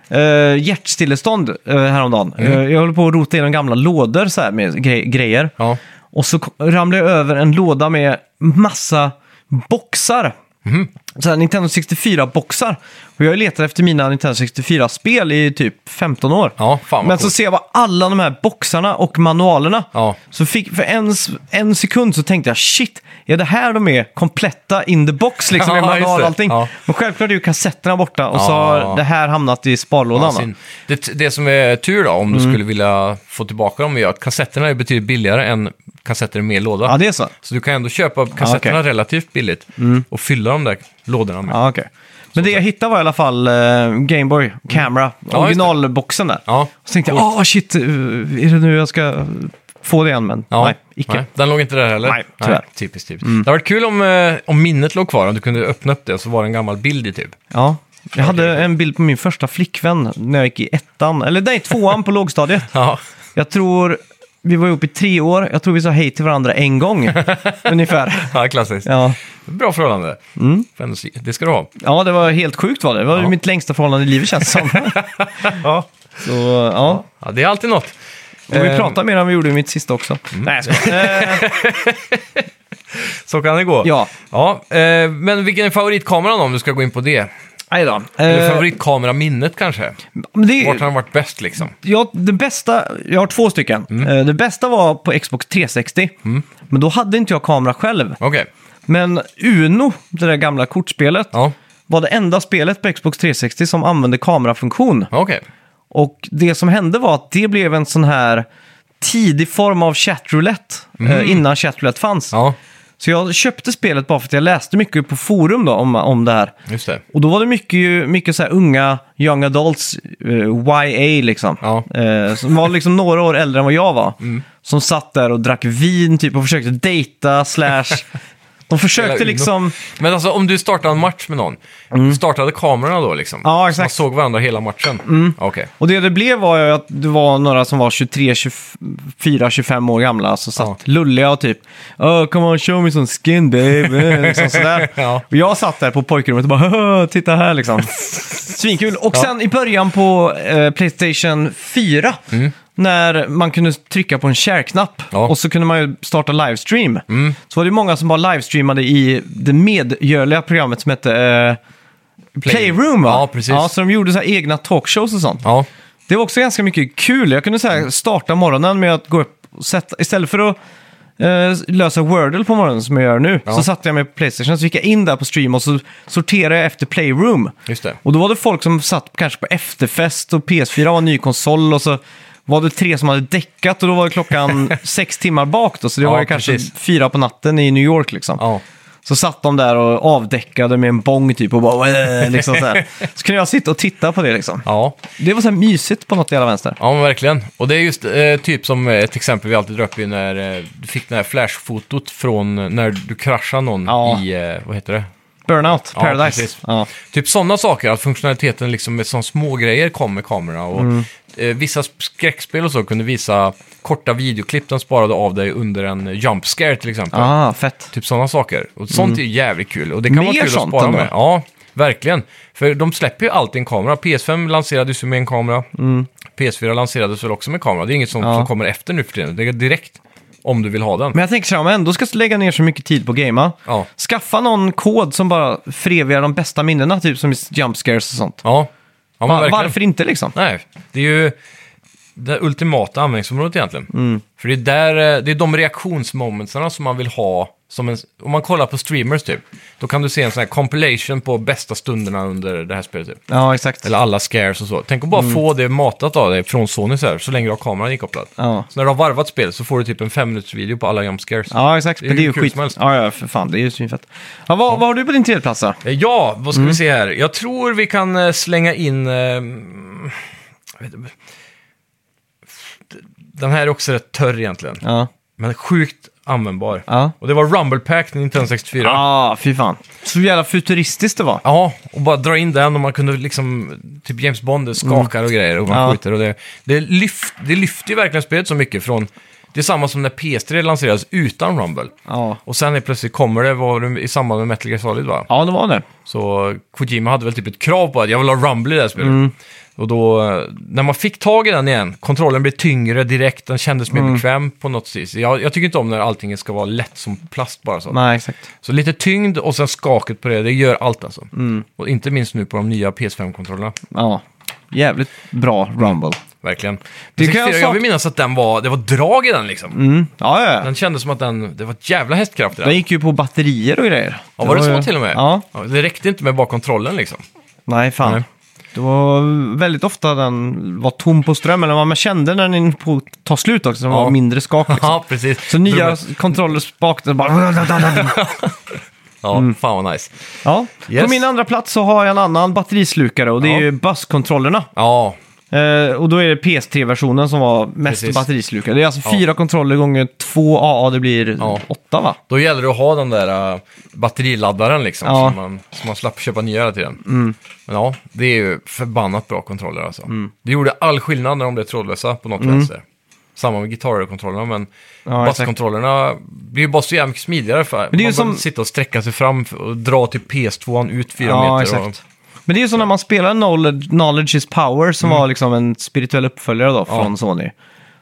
eh, hjärtstillestånd eh, häromdagen. Mm. Eh, jag håller på att rota igenom gamla lådor så här med gre- grejer. Ja, Och så ko- ramlade jag över en låda med massa boxar. Mhm. Så här, Nintendo 64-boxar. Och jag letar efter mina Nintendo 64-spel i typ 15 år. ja fan vad Men så coolt. ser jag bara alla de här boxarna och manualerna. Ja. Så fick, för en, s- en sekund så tänkte jag shit, är det här de är kompletta in the box liksom med Ja, just manual det. och allting? Ja. Men självklart är ju kassetterna borta och så Ja. har det här hamnat i sparlådan. Sin- det, det som är tur då, om du skulle vilja få tillbaka dem, är att kassetterna är betydligt billigare än kassetter med låda. ja, det är så. Så du kan ändå köpa kassetterna okej. relativt billigt och fylla de där lådorna med. Ja, Ja, okej. Men det jag hittade var i alla fall eh, Gameboy Camera, Mm. Ja, just det. originalboxen där. Ja, Så tänkte jag, coolt. åh shit, eh, är det nu jag ska få det igen? Men nej, icke. Den låg inte där heller? Nej, tyvärr. Mm. typiskt, typiskt. Det hade varit kul om, eh, om minnet låg kvar, om du kunde öppna upp det och så var det en gammal bild i typ. Ja. Jag hade en bild på min första flickvän när jag gick i ettan, eller nej, tvåan på lågstadiet. Ja, Jag tror, vi var ihop i tre år, jag tror vi sa hej till varandra en gång, ungefär. ja klassiskt. Ja. Mm. Bra förhållande. Får ändå se- Det ska du ha. ja, det var helt sjukt var det. Det var ju Ja. mitt längsta förhållande i livet känns det som. Ja. Så ja, ja, det är alltid något. och vi Eh, pratar mer än vi gjorde i mitt sista också. Mm. Nej, jag skojar. Eh, Så kan det gå. Ja. ja eh, men vilken är favoritkameran om du ska gå in på det? Nej då. Eller Eh, favoritkameraminnet kanske? men det, Vart har den varit bäst liksom? jag, det bästa, jag har två stycken. Mm. Eh, Det bästa var på Xbox 360, men då hade inte jag kamera själv. Okej. Men Uno, det där gamla kortspelet, Ja. var det enda spelet på Xbox 360 som använde kamerafunktion. Okej. Och det som hände var att det blev en sån här tidig form av chatroulette eh, innan chatroulette fanns. Mm. Ja, Så jag köpte spelet bara för att jag läste mycket på forum då om, om det här. just det. Och då var det mycket, ju- mycket så här unga young adults, eh, YA liksom. Ja. Mm. Eh, som var liksom några år äldre än vad jag var. Som satt där och drack vin typ och försökte dejta slash... De försökte Spela Uno. liksom... Mm. Men alltså om du startar en match med någon, startade kamerorna då liksom? Ja, Så exakt. Mm. man såg varandra hela matchen? Okej. Och det det blev var ju att det var några som var 23, 24, 25 år gamla som satt Ja. lulliga och typ oh, “Come on, show me some skin baby” liksom sådär. Ja. Och jag satt där på pojkrummet och bara "Haha, “Titta här” liksom. Svinkul. Och Ja. sen i början på eh, Playstation 4 När man kunde trycka på en share-knapp Mm. Ja. Mm. och så kunde man ju starta livestream. Så var det många som bara livestreamade i det medgörliga programmet som hette eh, Playroom va? Ja, precis. Ja, så de gjorde så här egna talkshows och sånt. Ja. Det var också ganska mycket kul. Jag kunde så här, starta morgonen med att gå upp och sätta, istället för att eh, lösa Wordle på morgonen som jag gör nu, så satte jag mig på Playstation, så gick jag in där på stream och så sorterade jag efter Playroom. Just det. Och då var det folk som satt kanske på efterfest och PS4 var en ny konsol och så var det tre som hade däckat och då var det klockan sex timmar bak då, så det Ja, var ju kanske precis. fyra på natten i New York liksom. Ja. Så satt de där och avdäckade med en bong typ och bara "Äh", liksom så, här. så kunde jag sitta och titta på det liksom. Ja. Det var så här mysigt på något jävla vänster. Ja, men verkligen. Och det är just eh, typ som eh, ett exempel vi alltid drar upp i när eh, du fick det här flashfotot från eh, när du kraschade någon Ja. i, eh, vad heter det? Burnout, Ja, Paradise. precis. Ja, Typ sådana saker, att funktionaliteten liksom med sådana små grejer kom med kamerorna. Och, eh, vissa skräckspel och så kunde visa korta videoklipp den sparade av dig under en jump scare till exempel. ah, fett. Typ sådana saker. Och sånt är ju jävligt kul. Och det kan Mm. Mer vara kul att sånt spara ändå. med. Ja, verkligen. För de släpper ju alltid en kamera. PS5 lanserades ju med en kamera. PS4 lanserades väl också med kamera. Det är inget sånt Mm. Ja. som kommer efter nu för tiden. Det är direkt om du vill ha den. Men jag tänker så här, om jag ändå ska lägga ner så mycket tid på att gamea, Ja. skaffa någon kod som bara förevigar de bästa minnena, typ som i jump scares och sånt. Ja, ja men Va- verkligen. varför inte liksom? Nej, det är ju det ultimata användningsområdet egentligen. Mm. För det är, där, eh, det är de reaktionsmomentsarna som man vill ha. Som en, om man kollar på streamers typ, då kan du se en sån här compilation på bästa stunderna under det här spelet. Typ. Ja, exakt. Eller alla scares och så. Tänk att bara Mm. få det matat av dig från Sony så här, så länge du har kameran inkopplad. Ja. Så när du har varvat spel så får du typ en fem minuters video på alla jump scares. Ja, exakt. Det är Men det är hur ju kul skit. som helst. Ja, ja, för fan. Det är ju svinfett. Ja, vad, vad har du på din tredjeplats då? Eh, Ja, vad Mm. ska vi se här? Jag tror vi kan eh, slänga in... eh, mm, jag vet inte. Den här är också rätt törr egentligen. Ja. Men sjukt användbar. Ja. Och det var Rumble Pack till Nintendo 64. Ah, fy fan. Så jävla futuristiskt det var. Ja, och bara dra in den och man kunde liksom, typ James Bond det skakar och grejer och man Mm. Ja. skjuter och det, det, lyft, det lyfter ju verkligen spelet så mycket från, det är samma som när PS3 lanserades utan Rumble. Ja, Och sen helt plötsligt kommer det, var det i samband med Metal Gear Solid va? ja det var det. Så Kojima hade väl typ ett krav på att jag vill ha Rumble i det här spelet. Mm. Och då, eh, när man fick tag i den igen, kontrollen blev tyngre direkt, den kändes Mm. mer bekväm på något vis. Jag, jag tycker inte om när allting ska vara lätt som plast bara så. Nej, exakt. Så lite tyngd och sen skaket på det, det gör allt alltså. Mm. Och inte minst nu på de nya PS5-kontrollerna, Ja. Jävligt bra Rumble. verkligen. Men Det kan 64, jag jag, sak- vill minnas att den var, det var drag i den liksom. Mm. Ja, ja, ja. Den kändes som att den, det var ett jävla hästkraft i Den den. gick ju på batterier och grejer. Ja, var det så ju- till och med? Ja. Det räckte inte med bara kontrollen liksom. Nej, fan. Nej. Det var väldigt ofta den var tom på ström, eller vad man kände när den på ta slut också, den Ja. var mindre skak. Liksom. Ja, precis. Så nya kontroller spak, det bara... Ja, Mm. fan vad nice. Ja. På Yes. min andra plats så har jag en annan batterislukare och det är Ja. ju busskontrollerna. Ja, Eh, och då är det PS3-versionen som var mest Precis. batterislukare. Det är alltså Ja. fyra kontroller gånger två AA, det blir Ja. åtta va? då gäller det att ha den där äh, batteriladdaren liksom, Ja. Mm. så, man, så man slapp köpa nya hela tiden. Men ja, det är ju förbannat bra kontroller alltså. Det gjorde all skillnad när de blev trådlösa på något vänster. Samma med gitarrkontrollerna, men Mm. Ja, exakt. basskontrollerna blir ju bara så jävla mycket smidigare. För det är ju man som- som... sitta och sträcka sig fram och dra till PS2 ut fyra Ja, meter. Och... exakt. Men det är ju som när man spelar Knowledge, Knowledge is power som Mm. var liksom en spirituell uppföljare då från Sony.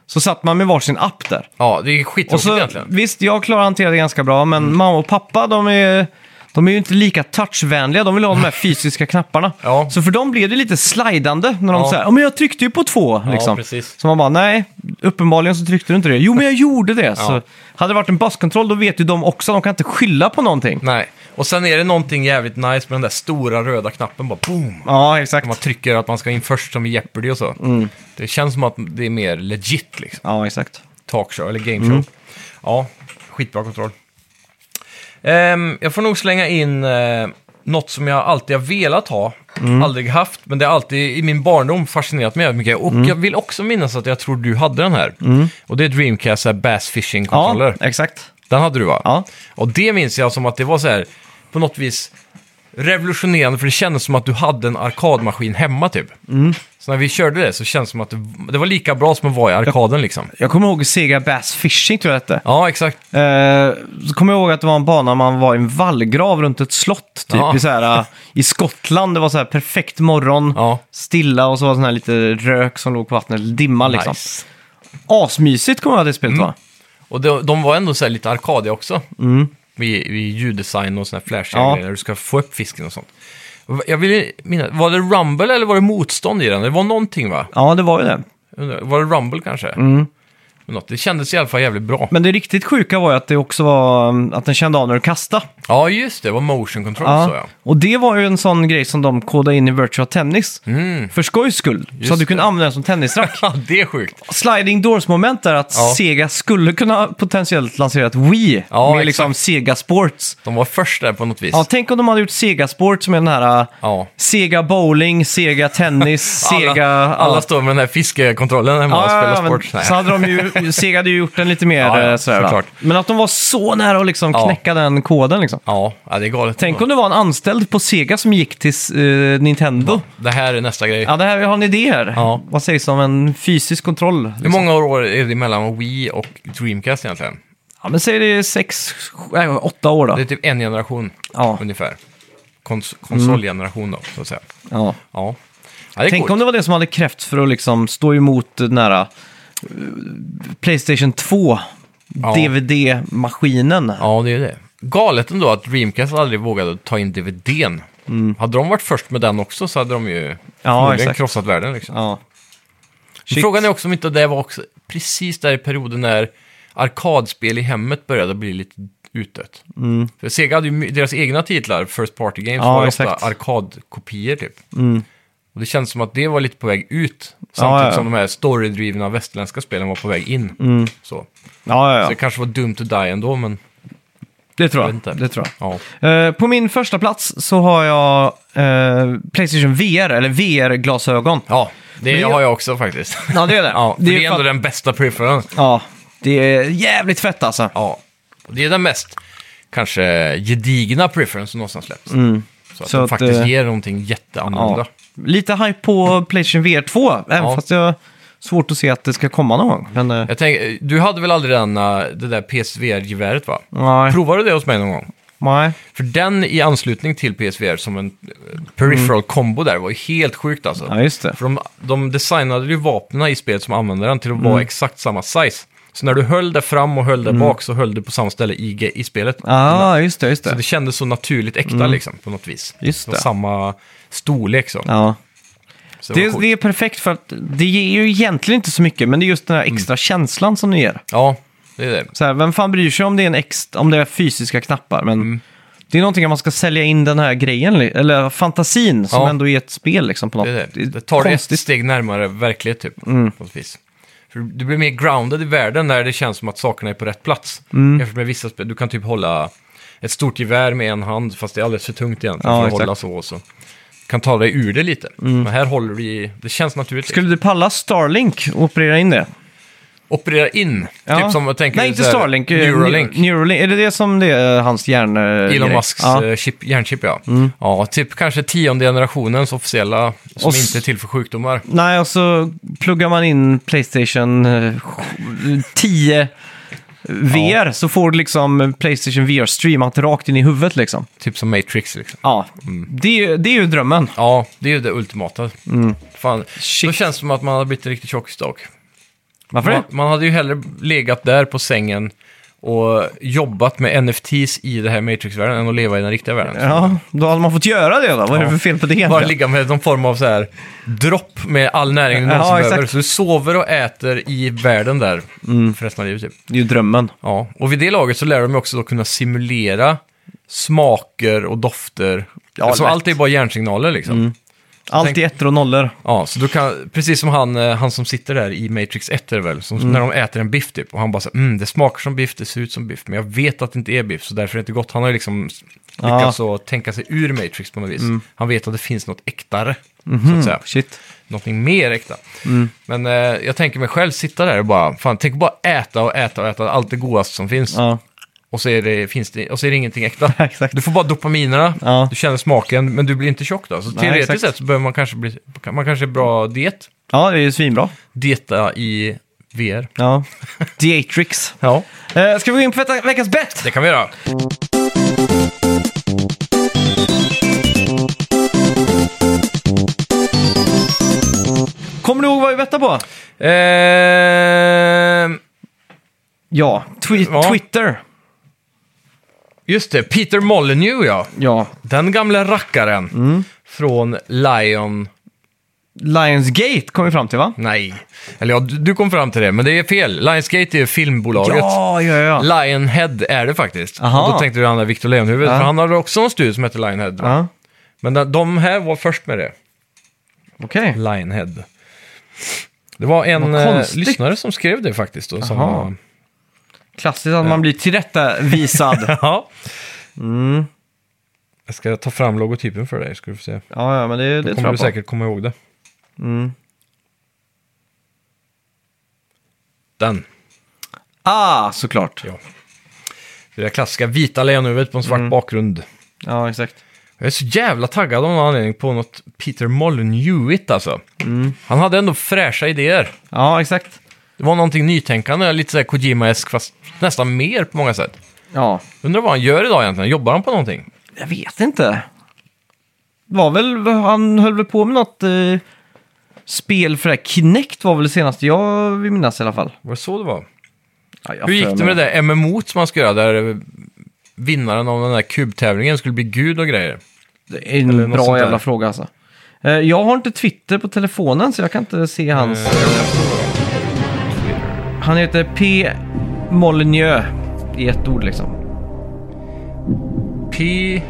Så satt man med varsin app där. Ja, det är Och skittråkigt så, egentligen. Mm. visst, jag klarar att hantera det ganska bra, men mamma och pappa, de är, de är ju inte lika touchvänliga. De vill ha de här fysiska knapparna. Ja. Så för dem blev det lite slidande när de Ja. säger ja men jag tryckte ju på två. Liksom. precis. så man bara, nej, uppenbarligen så tryckte du inte det. Jo, men jag gjorde det. Så hade det varit en busskontroll, då vet ju de också, de kan inte skylla på någonting. Nej, och sen är det någonting jävligt nice med den där stora röda knappen, bara boom! Ja, Man exakt. trycker att man ska in först som i Jeopardy och så. Mm. Det känns som att det är mer legit liksom. Ja, exakt. Talkshow eller gameshow. Mm. Ja, skitbra kontroll. Ehm, jag får nog slänga in uh, något som jag alltid har velat ha, Mm. aldrig haft, men det har alltid i min barndom fascinerat mig jävligt mycket. Och Mm. jag vill också minnas att jag tror du hade den här. Och det är Dreamcast så här Bass Fishing-kontroller. Ja, exakt. Den hade du va? Ja. Och det minns jag som att det var så här, på något vis revolutionerande, för det kändes som att du hade en arkadmaskin hemma typ. Så när vi körde det så kändes det som att det, det var lika bra som att vara i arkaden liksom. Jag kommer ihåg Sega Bass Fishing, tror jag det hette. Ja, exakt. Eh, så kommer jag ihåg att det var en bana man var i en vallgrav runt ett slott. Typ Ja. i, så här, eh, i Skottland. Det var så här perfekt morgon, Ja. stilla och så var det sån här lite rök som låg på vattnet. eller Dimma liksom. Nice. Mm. Asmysigt kommer jag ihåg att det spelet var. Och de, de var ändå så här lite arkadiga också. Vid, vid ljuddesign och såna här flashiga Ja. grejer, där du ska få upp fisken och sånt. Jag vill minnas, var det Rumble eller var det motstånd i den? Det var någonting va? Ja, det var ju det. Undrar, Var det Rumble kanske? Men Något. Det kändes i alla fall jävligt bra. Men det riktigt sjuka var ju att det också var mm, att den kände av när du kastade. Ja, just det. Det var motion control så ja. Och det var ju en sån grej som de kodade in i Virtual Tennis. Mm. För skojs skull. så att du det. kunde använda den som tennisracket. Ja, det är sjukt. sliding doors-moment där att Ja. Sega skulle kunna potentiellt lansera ett Wii Ja, med exakt. liksom Sega Sports. De var först där på något vis. Ja, tänk om de hade gjort Sega Sports med den här äh, Ja. Sega Bowling, Sega Tennis, Sega... alla, alla står med den här fiskekontrollen hemma och spelar men sport. Nej. så hade de ju, Sega hade ju gjort den lite mer Ja, ja, eh, sådär, va? såklart. Men att de var så nära att liksom Ja. knäcka den koden liksom. Ja, ja, det är galet. Tänk om det var en anställd på Sega som gick till eh, Nintendo. Det här är nästa grej. Ja, det här, vi har en idé här. Ja. Vad sägs om en fysisk kontroll? Hur Liksom? många år är det mellan Wii och Dreamcast egentligen? Ja, men säg det är sex, sju- nej, åtta år då. Det är typ en generation Ja. ungefär. Kons konsolgeneration då, så att säga. Ja. Ja, ja det är Tänk coolt. om det var det som hade kräft för att liksom stå emot den här eh, Playstation 2 DVD-maskinen. Ja, det är det. Galet ändå att Dreamcast aldrig vågade ta in DVDn. Hade de varit först med den också så hade de ju förmodligen Mm. exakt. krossat världen. Liksom. Ja. Men Frågan är också om inte det var också precis där i perioden när arkadspel i hemmet började bli lite utdött. För Sega hade ju my- deras egna titlar, First Party Games, Mm. Ja, var ju exakt. Mm. ofta arkadkopior typ. Och det känns som att det var lite på väg ut, samtidigt ja, ja. som de här storydrivna västerländska spelen var på väg in. Så. Ja, ja, så ja. det kanske var dumt att die ändå, men Det tror jag vet jag. inte. Det tror jag. ja. Eh, på min första plats så har jag eh, Playstation VR, eller VR-glasögon. Ja, det Men jag- har jag också faktiskt. Ja, det är det. Ja, för det, det är för ändå att- den bästa preferensen. Ja, det är jävligt fett alltså. Ja, Det är den mest kanske gedigna preference som någonsin släppts. Så att Mm. Så den att, faktiskt eh, ger någonting jätteannorlunda. Ja. Lite hype på Playstation VR 2, även Ja. fast jag har svårt att se att det ska komma någon gång. Men, eh, Jag tänker, du hade väl aldrig den, eh, det där PSVR-geväret va? Mm, nej, Provade du det hos mig någon gång? nej. För den i anslutning till PSVR som en eh, peripheral combo där var ju helt sjukt alltså. Mm. Ja, just det. För de, de designade ju vapnen i spelet som användaren till att Mm. vara exakt samma size. Så när du höll det fram och höll det bak så höll du på samma ställe i, ge- i spelet. Ah, just det, just Så det. Mm. det kändes så naturligt äkta liksom på något vis. Just var det. samma storlek så. Ja. så det, Det, var coolt. det är perfekt för att det ger ju egentligen inte så mycket, men det är just den här Mm. extra känslan som det ger. Ja, det är det. Så här, vem fan bryr sig om det är, en extra, om det är fysiska knappar, men Mm. det är någonting att man ska sälja in den här grejen, li- eller fantasin som Ja. ändå är ett spel liksom, på något Det, är det. är det tar konstigt. Mm. ett steg närmare verklighet typ. På något vis. För du blir mer grounded i världen när det känns som att sakerna är på rätt plats. Mm. Jämfört med vissa spel, du kan typ hålla ett stort gevär med en hand fast det är alldeles för tungt egentligen Ja, för att exakt. Mm. hålla så. Och så. Kan ta dig ur det lite. Men här håller du i, det känns naturligt. Skulle du palla Starlink och operera in det? Operera in, Ja. typ som jag tänker Nej, inte så här, Starlink. eh, Neuralink. Neu- Neuralink. Är det det som det är hans hjärn... eh, Elon grej? Musks Ja. Mm. eh, chip, hjärnchip, ja. Ja, typ kanske tionde generationens officiella som Och s- inte är till för sjukdomar. Nej, och så pluggar man in Playstation eh, sj- 10 VR så får du liksom Playstation VR streamat rakt in i huvudet liksom. Typ som Matrix liksom. Ja, det, är ju- det är ju drömmen. Ja, det är ju det ultimata. Fan, då Mm. Shit. känns det som att man hade blivit en riktig tjockstock. Varför Man, det? man hade ju hellre legat där på sängen och jobbat med NFTs i det här Matrix-världen än att leva i den riktiga världen. Ja, då hade man fått göra det då. Vad är det för fel på det Bara egentligen? ligga med någon form av så här dropp med all näring du Ja, någonsin behöver. exakt. Så du sover och äter i världen där Mm. för resten av livet typ. Det är ju drömmen. Ja, och vid det laget så lär de ju också då kunna simulera smaker och dofter. Ja, alltså lätt. Mm. allt är bara hjärnsignaler liksom. Allt Tänk- i ettor och nollor. Ja, så du kan, precis som han, eh, han som sitter där i Matrix 1 är det väl, Mm. som när de äter en biff typ, och han bara så här, mm, det smakar som biff, det ser ut som biff, men jag vet att det inte är biff, så därför är det inte gott. Han har ju liksom lyckats att tänka sig ur Matrix på något vis. Mm. Han vet att det finns något äktare, Mhm. så att säga. Shit. Någonting mer äkta. Mm. Men eh, jag tänker mig själv sitta där och bara, fan, tänk bara äta och äta och äta allt det godaste som finns. Ja. Och så är det, finns det, och så är det ingenting äkta. Exakt. Du får bara dopaminerna, Ja. du känner smaken, men du blir inte tjock då. Så teoretiskt exakt. sett så behöver man kanske bli, man kanske är bra diet. ja, det är ju svinbra. Dieta i VR. Ja. Dietrix. Ja. Eh, ska vi gå in på vecka- veckans bett? Det kan vi göra. Kommer du ihåg vad vi bettade på? Ehm, Ja, twi- Ja. Twitter. just det, Peter Molyneux ja. Ja. Den gamla rackaren. Mm. Från Lion... Lionsgate kom vi fram till va? Nej. Eller ja, du, du kom fram till det, men det är fel. Lionsgate är ju filmbolaget. Ja, ja, ja. Lionhead är det faktiskt. Aha. Och då tänkte du han där Victor Leonhufvud, Ja. för han hade också en studio som hette Lionhead. va? ja. Men de- de här var först med det, Okej. Lionhead. Det var en Vad eh, konstigt. lyssnare som skrev det faktiskt. Då, som Jaha. var, Klassiskt att man blir tillrättavisad. ja. Jag ska ta fram logotypen för dig, ska du få se. ja, ja, men Mm. det, det tror kommer jag du på. säkert komma ihåg det. Mm. Den. Ah, såklart. Ja. Det där klassiska vita lejonhuvudet på en Mm. svart bakgrund. Ja, exakt. Jag är så jävla taggad av någon anledning på något Peter Molyneux alltså. Mm. Han hade ändå fräscha idéer. Ja, exakt. Det var någonting nytänkande, lite såhär Kojima-esk, fast nästan mer på många sätt. Ja. Undrar vad han gör idag egentligen, jobbar han på någonting? Jag vet inte. Det var väl, han höll väl på med något eh, spel för det här. Kinect var väl det senaste jag vill minnas i alla fall. Var det så det var? Ja, jag Hur gick för det mig. med det där MMO som man ska göra, där eh, vinnaren av den där kubtävlingen skulle bli gud och grejer? Det är en Eller något sånt bra där. jävla fråga alltså. Eh, Jag har inte Twitter på telefonen så jag kan inte se Eh, hans... Han heter P. Molyneux i ett ord liksom. P.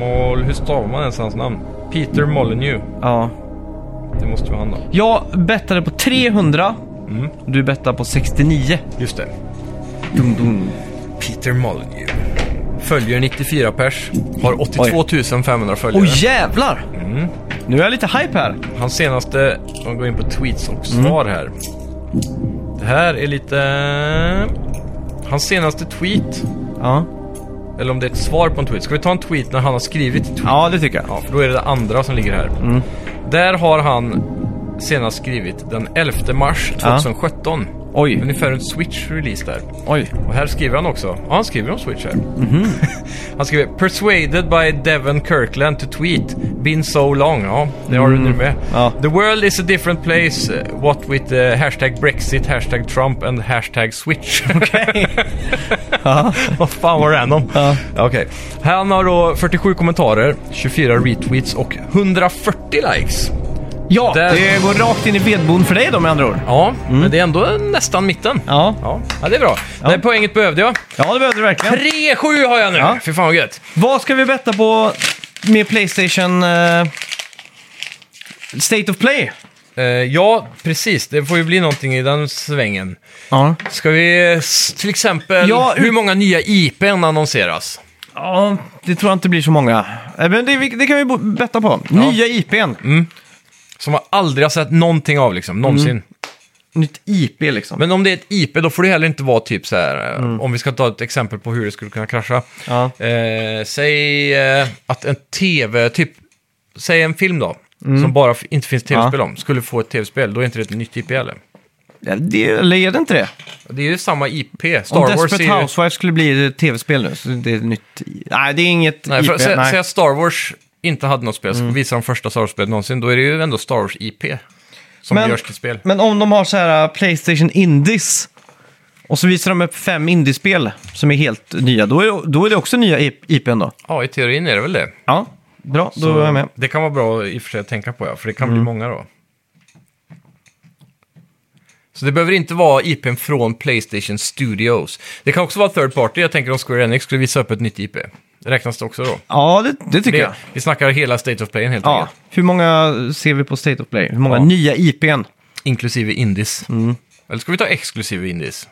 Moll... Hur stavar man ens hans namn? Peter Molyneux. Ja. Det måste vara han då. Jag bettade på 300. Du bettade på 69. Just det. Dum, dum. Peter Molyneux. Följer 94 pers. Har 82 500 följare. Åh jävlar! Nu är jag lite hype här. Hans senaste, om vi går in på tweets och svar här. Det här är lite... Hans senaste tweet Ja. Eller om det är ett svar på en tweet. Ska vi ta en tweet när han har skrivit tweet? ja, det tycker jag. Ja, för då är det det andra som ligger här. Där har han senast skrivit den 11 mars 2017. Oj. Ungefär en Switch-release där. Oj. Och här skriver han också. Ja, han skriver om Switch här. Mhm. han skriver “Persuaded by Devon Kirkland to tweet. Been so long”. Ja, det har du nu med. Mm. Ja. “The world is a different place. eh, What with eh, hashtag Brexit, hashtag Trump and hashtag Switch”. Okej. Vad fan var random. Ja. Okej. Han har då 47 kommentarer, 24 retweets och 140 likes. Ja, Där- det går rakt in i vedboden för dig då med andra ord. Ja, men det är ändå nästan mitten. Mm. Ja, Ja, ja det är bra. Det här poänget behövde jag. ja det behövde du verkligen. 3-7 har jag nu! Ja. Fy fan vad gött. Vad ska vi betta på med Playstation eh, State of Play? Eh, ja, precis. Det får ju bli någonting i den svängen. Ja. Ska vi eh, s- till exempel... Ja, ut- Hur många nya IPn annonseras? ja, det tror jag inte blir så många. Eh, Men det, det kan vi bo- betta på. Nya IPn. Som man aldrig har sett någonting av liksom, någonsin. Mm. Nytt IP liksom. Men om det är ett IP, då får det heller inte vara typ så här... eh, Om vi ska ta ett exempel på hur det skulle kunna krascha. Mm. Ja. Eh, säg eh, att en tv, typ... Säg en film då, Mm. som bara f- inte finns tv-spel om, skulle få ett tv-spel. Då är inte det ett nytt IP heller. Ja, Det, eller är det inte det? Det är ju samma IP. Star Om Wars är Desperate ju... Housewives skulle bli ett tv-spel nu, så det är ett nytt... Nej, det är inget Nej, IP. för, sä, nej. Mm. Säg att Star Wars inte hade något spel, så visar de första Star Wars-spelet någonsin, då är det ju ändå Star Wars IP som Men- görs till spel. Men om de har så här äh, Playstation Indies och så visar de upp fem indiespel som är helt nya, då är, då är det också nya IP IPn då. Ja, i teorin är det väl det. Ja, bra. Då är jag med. Det kan vara bra i och för sig att tänka på, ja, för det kan Mm. bli många då. Så det behöver inte vara IPn från Playstation Studios. Det kan också vara third party. Jag tänker om Square Enix skulle visa upp ett nytt IP. Räknas det också då? Ja, det, det tycker jag. Det, vi snackar hela State of Playen helt Ja. enkelt. Hur många ser vi på State of Play? Hur många Ja. nya IPn? Inklusive Indies. Mm. Eller ska vi ta exklusive Indies?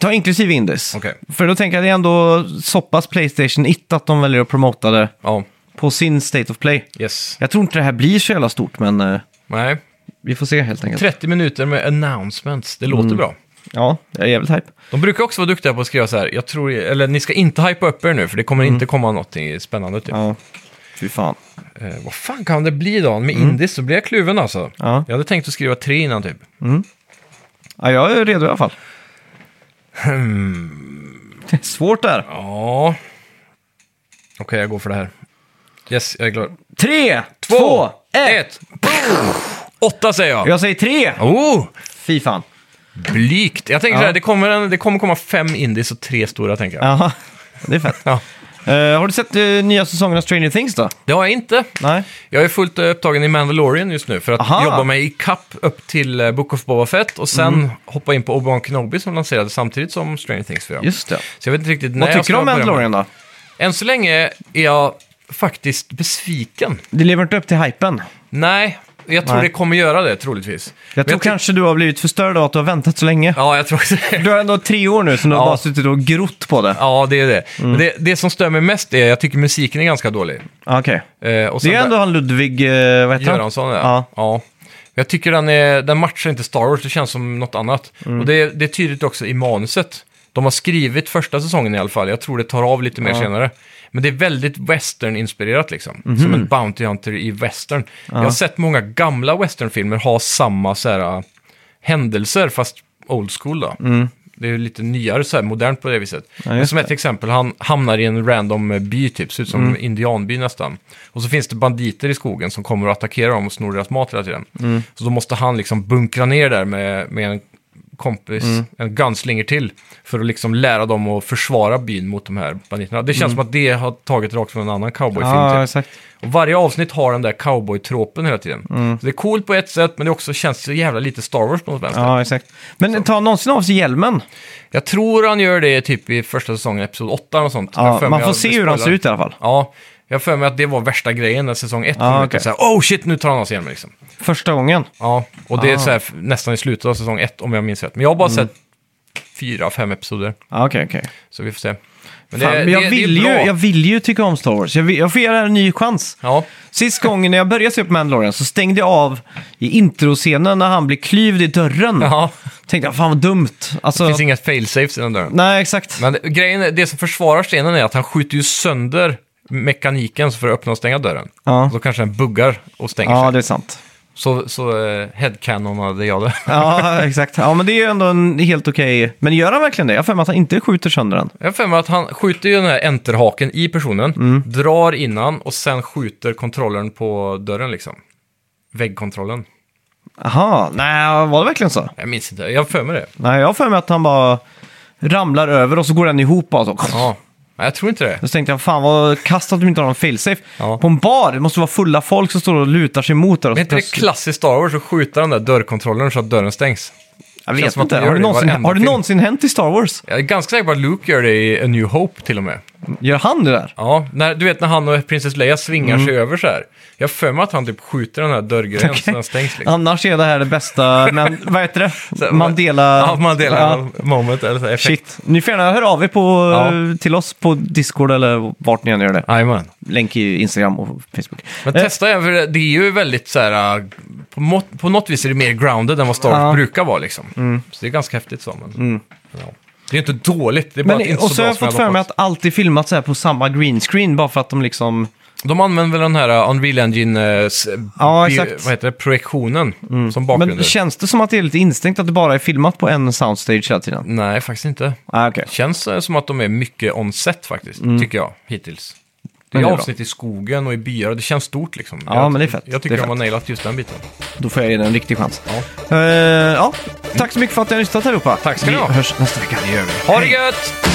Ta inklusive Indies. Okej. För då tänker jag det är ändå så pass Playstation it att de väljer att promota det Ja, på sin State of Play. yes. Jag tror inte det här blir så jävla stort, men eh, Nej. vi får se helt enkelt. 30 minuter med announcements, det Mm. låter bra. Ja, jag är jävligt hype. De brukar också vara duktiga på att skriva så här, jag tror, eller ni ska inte hypa upp er nu för det kommer inte komma någonting spännande typ. Mm. Ja, fy fan. Eh, vad fan kan det bli då? Med Indies så blir jag kluven alltså. Mm. Ja. Jag hade tänkt att skriva tre innan typ. Ja, jag är redo i alla fall. Det är svårt där. Hmm. Ja. Okej, jag går för det här. Yes, jag är klar. Tre, två, ett. ett! Åtta säger jag. Jag säger tre. Oh, Fy fan. blygt. Jag tänker Ja. så här, det kommer, en, det kommer komma fem indies och tre stora tänker jag. Jaha, det är fett. Ja. Eh, har du sett eh, nya säsongen av Stranger Things då? Det har jag inte. Nej. Jag är fullt upptagen i Mandalorian just nu för att Aha. jobba mig i kapp upp till eh, Book of Boba Fett och sen Mm. hoppa in på Obi-Wan Kenobi som lanserades samtidigt som Stranger Things 4. Just det. Så jag vet inte riktigt när Vad jag tycker ska du om börja med. Mandalorian då? Än så länge är jag faktiskt besviken. Det lever inte upp till hypen. Nej, jag tror Nej. det kommer göra det troligtvis. Men Jag tror ty- kanske du har blivit förstörd av att du har väntat så länge. Ja, jag tror också det. Du har ändå tre år nu som du har Ja. bara suttit och grott på det. Ja, det är det. Mm. Men det. Det som stör mig mest är att jag tycker musiken är ganska dålig. Ja. Ah, Okej. Eh, och sen Det är ändå han Ludvig, eh, vad heter han? Göransson, ja. Ja. ja. Jag tycker den, är, den matchar inte Star Wars, det känns som något annat. Mm. Och det, är- det är tydligt också i manuset. De har skrivit första säsongen i alla fall, jag tror det tar av lite mer senare. Men det är väldigt western-inspirerat liksom. Mhm. Som en Bounty Hunter i western. Jag har sett många gamla westernfilmer ha samma så här, äh, händelser, fast old school då. Det är ju lite nyare, så här, modernt på det viset. Men Mm. just som ett exempel, han hamnar i en random eh, by typ, ser ut Mm. som en indianby nästan. Och så finns det banditer i skogen som kommer och attackerar dem och snor deras mat hela tiden. Mm. Så då måste han liksom bunkra ner där med, med en kompis, Mm. en gunslinger till, för att liksom lära dem att försvara byn mot de här banditerna. Det känns som att det har tagit rakt från en annan cowboyfilm. Mm. Ja, typ. exakt. Och varje avsnitt har den där cowboy-tropen hela tiden. Mm. Så det är coolt på ett sätt, men det också känns så jävla lite Star Wars på något vänster. Ja, exakt. Men tar han någonsin av sig hjälmen? Jag tror han gör det typ i första säsongen, episod 8 eller något sånt. Jag har Ja, för mig man får att se det hur han spoilar. ser ut i alla fall. Ja, jag har för mig att det var värsta grejen när säsong 1 Ah, kom ut. okej. Och Så här, oh shit, nu tar han oss igen liksom. Första gången. Ah. Mm. Ja, och det är så här, f- nästan i slutet av säsong 1 om jag minns rätt. Men jag har bara sett fyra, fem episoder. Ja, Okej, okej. Så vi får se. Men, Fan, Men jag vill ju, bra. jag vill ju tycka om Star Wars. Jag, vill, jag får ge det här en ny chans. Ja, Sist gången när jag började se på Mandalorian så stängde jag av i introscenen när han blir klyvd i dörren. ja. Tänkte jag, fan vad dumt. Alltså, det finns inga failsafes i den dörren. nej, exakt. Men det, grejen är, det som försvarar stenen är att han skjuter ju sönder mekaniken för att öppna och stänga dörren. Ja. Och Då kanske den buggar och stänger Ja, sig. det är sant. Så, så eh, headcanonade jag det. Ja, exakt. Ja, men det är ju ändå en helt okej... Men gör han verkligen det? Jag har för mig att han inte skjuter sönder den. Jag har för mig att han skjuter ju den här enterhaken i personen, Mm. drar innan och sen skjuter kontrollen på dörren liksom. Väggkontrollen. Aha, nej, var det verkligen så? Jag minns inte, jag har för mig det. Nej, jag har för mig att han bara ramlar över och så går den ihop bara så. Ja. Nej, jag tror inte det. Och Så tänkte jag, fan vad kasst att de inte har någon failsafe. Ja. På en bar, det måste vara fulla folk som står och lutar sig mot där. och Men så är inte det plötsligt- klassiskt Star Wars att skjuta den där dörrkontrollen så att dörren stängs? Jag Känns vet som att inte. de gör Har det, det i någonsin, varenda har det film. någonsin hänt i Star Wars? Jag är ganska säker på att Luke gör det i A New Hope till och med. Gör han det där? Ja, när, du vet när han och prinsess Leia svingar sig Mm. över så här. Jag har för mig att han typ skjuter den här dörrgrejen så den stängs liksom. Annars är det här det bästa, men vad heter det? Så- Mandela... Ja, man delar Ja, moment eller så här, effekt. Shit. Ni får gärna höra av er på, eh, Ja. till oss på Discord eller vart ni än gör det. Jajamän. Länk i Instagram och Facebook. Men Eh, testa igen, för det- det är ju väldigt så här... äh, På, må- på något vis är det mer grounded än vad Star Wars Ja. Mm. brukar vara liksom. Så det är ganska häftigt så. Men, ja. Det är ju inte dåligt, det är bara att det men, inte är så och så bra har jag som fått hade för mig hoppats. att allt är filmat så här på samma green screen bara för att de liksom... De använder väl den här äh, Unreal Engine, äh, s- Ja, bi- exakt. Mm. vad heter det, projektionen som Men bakgrund. känns det som att det är lite instängt att det bara är filmat på en soundstage hela tiden? Nej, faktiskt inte. Ah, okej. Känns eh, som att de är mycket on set faktiskt, tycker jag, hittills. Det Mm. Men är det är avsnitt i skogen och i byar och det känns stort liksom. Ja, jag, men det är fett. Jag Det tycker är de har fett. nailat just den biten. Då får jag ge den en riktig chans. Ja. Eh, ja. Tack så mycket för att ni har lyssnat allihopa. Tack ska ni Vi ha. hörs nästa vecka. Ha det gött!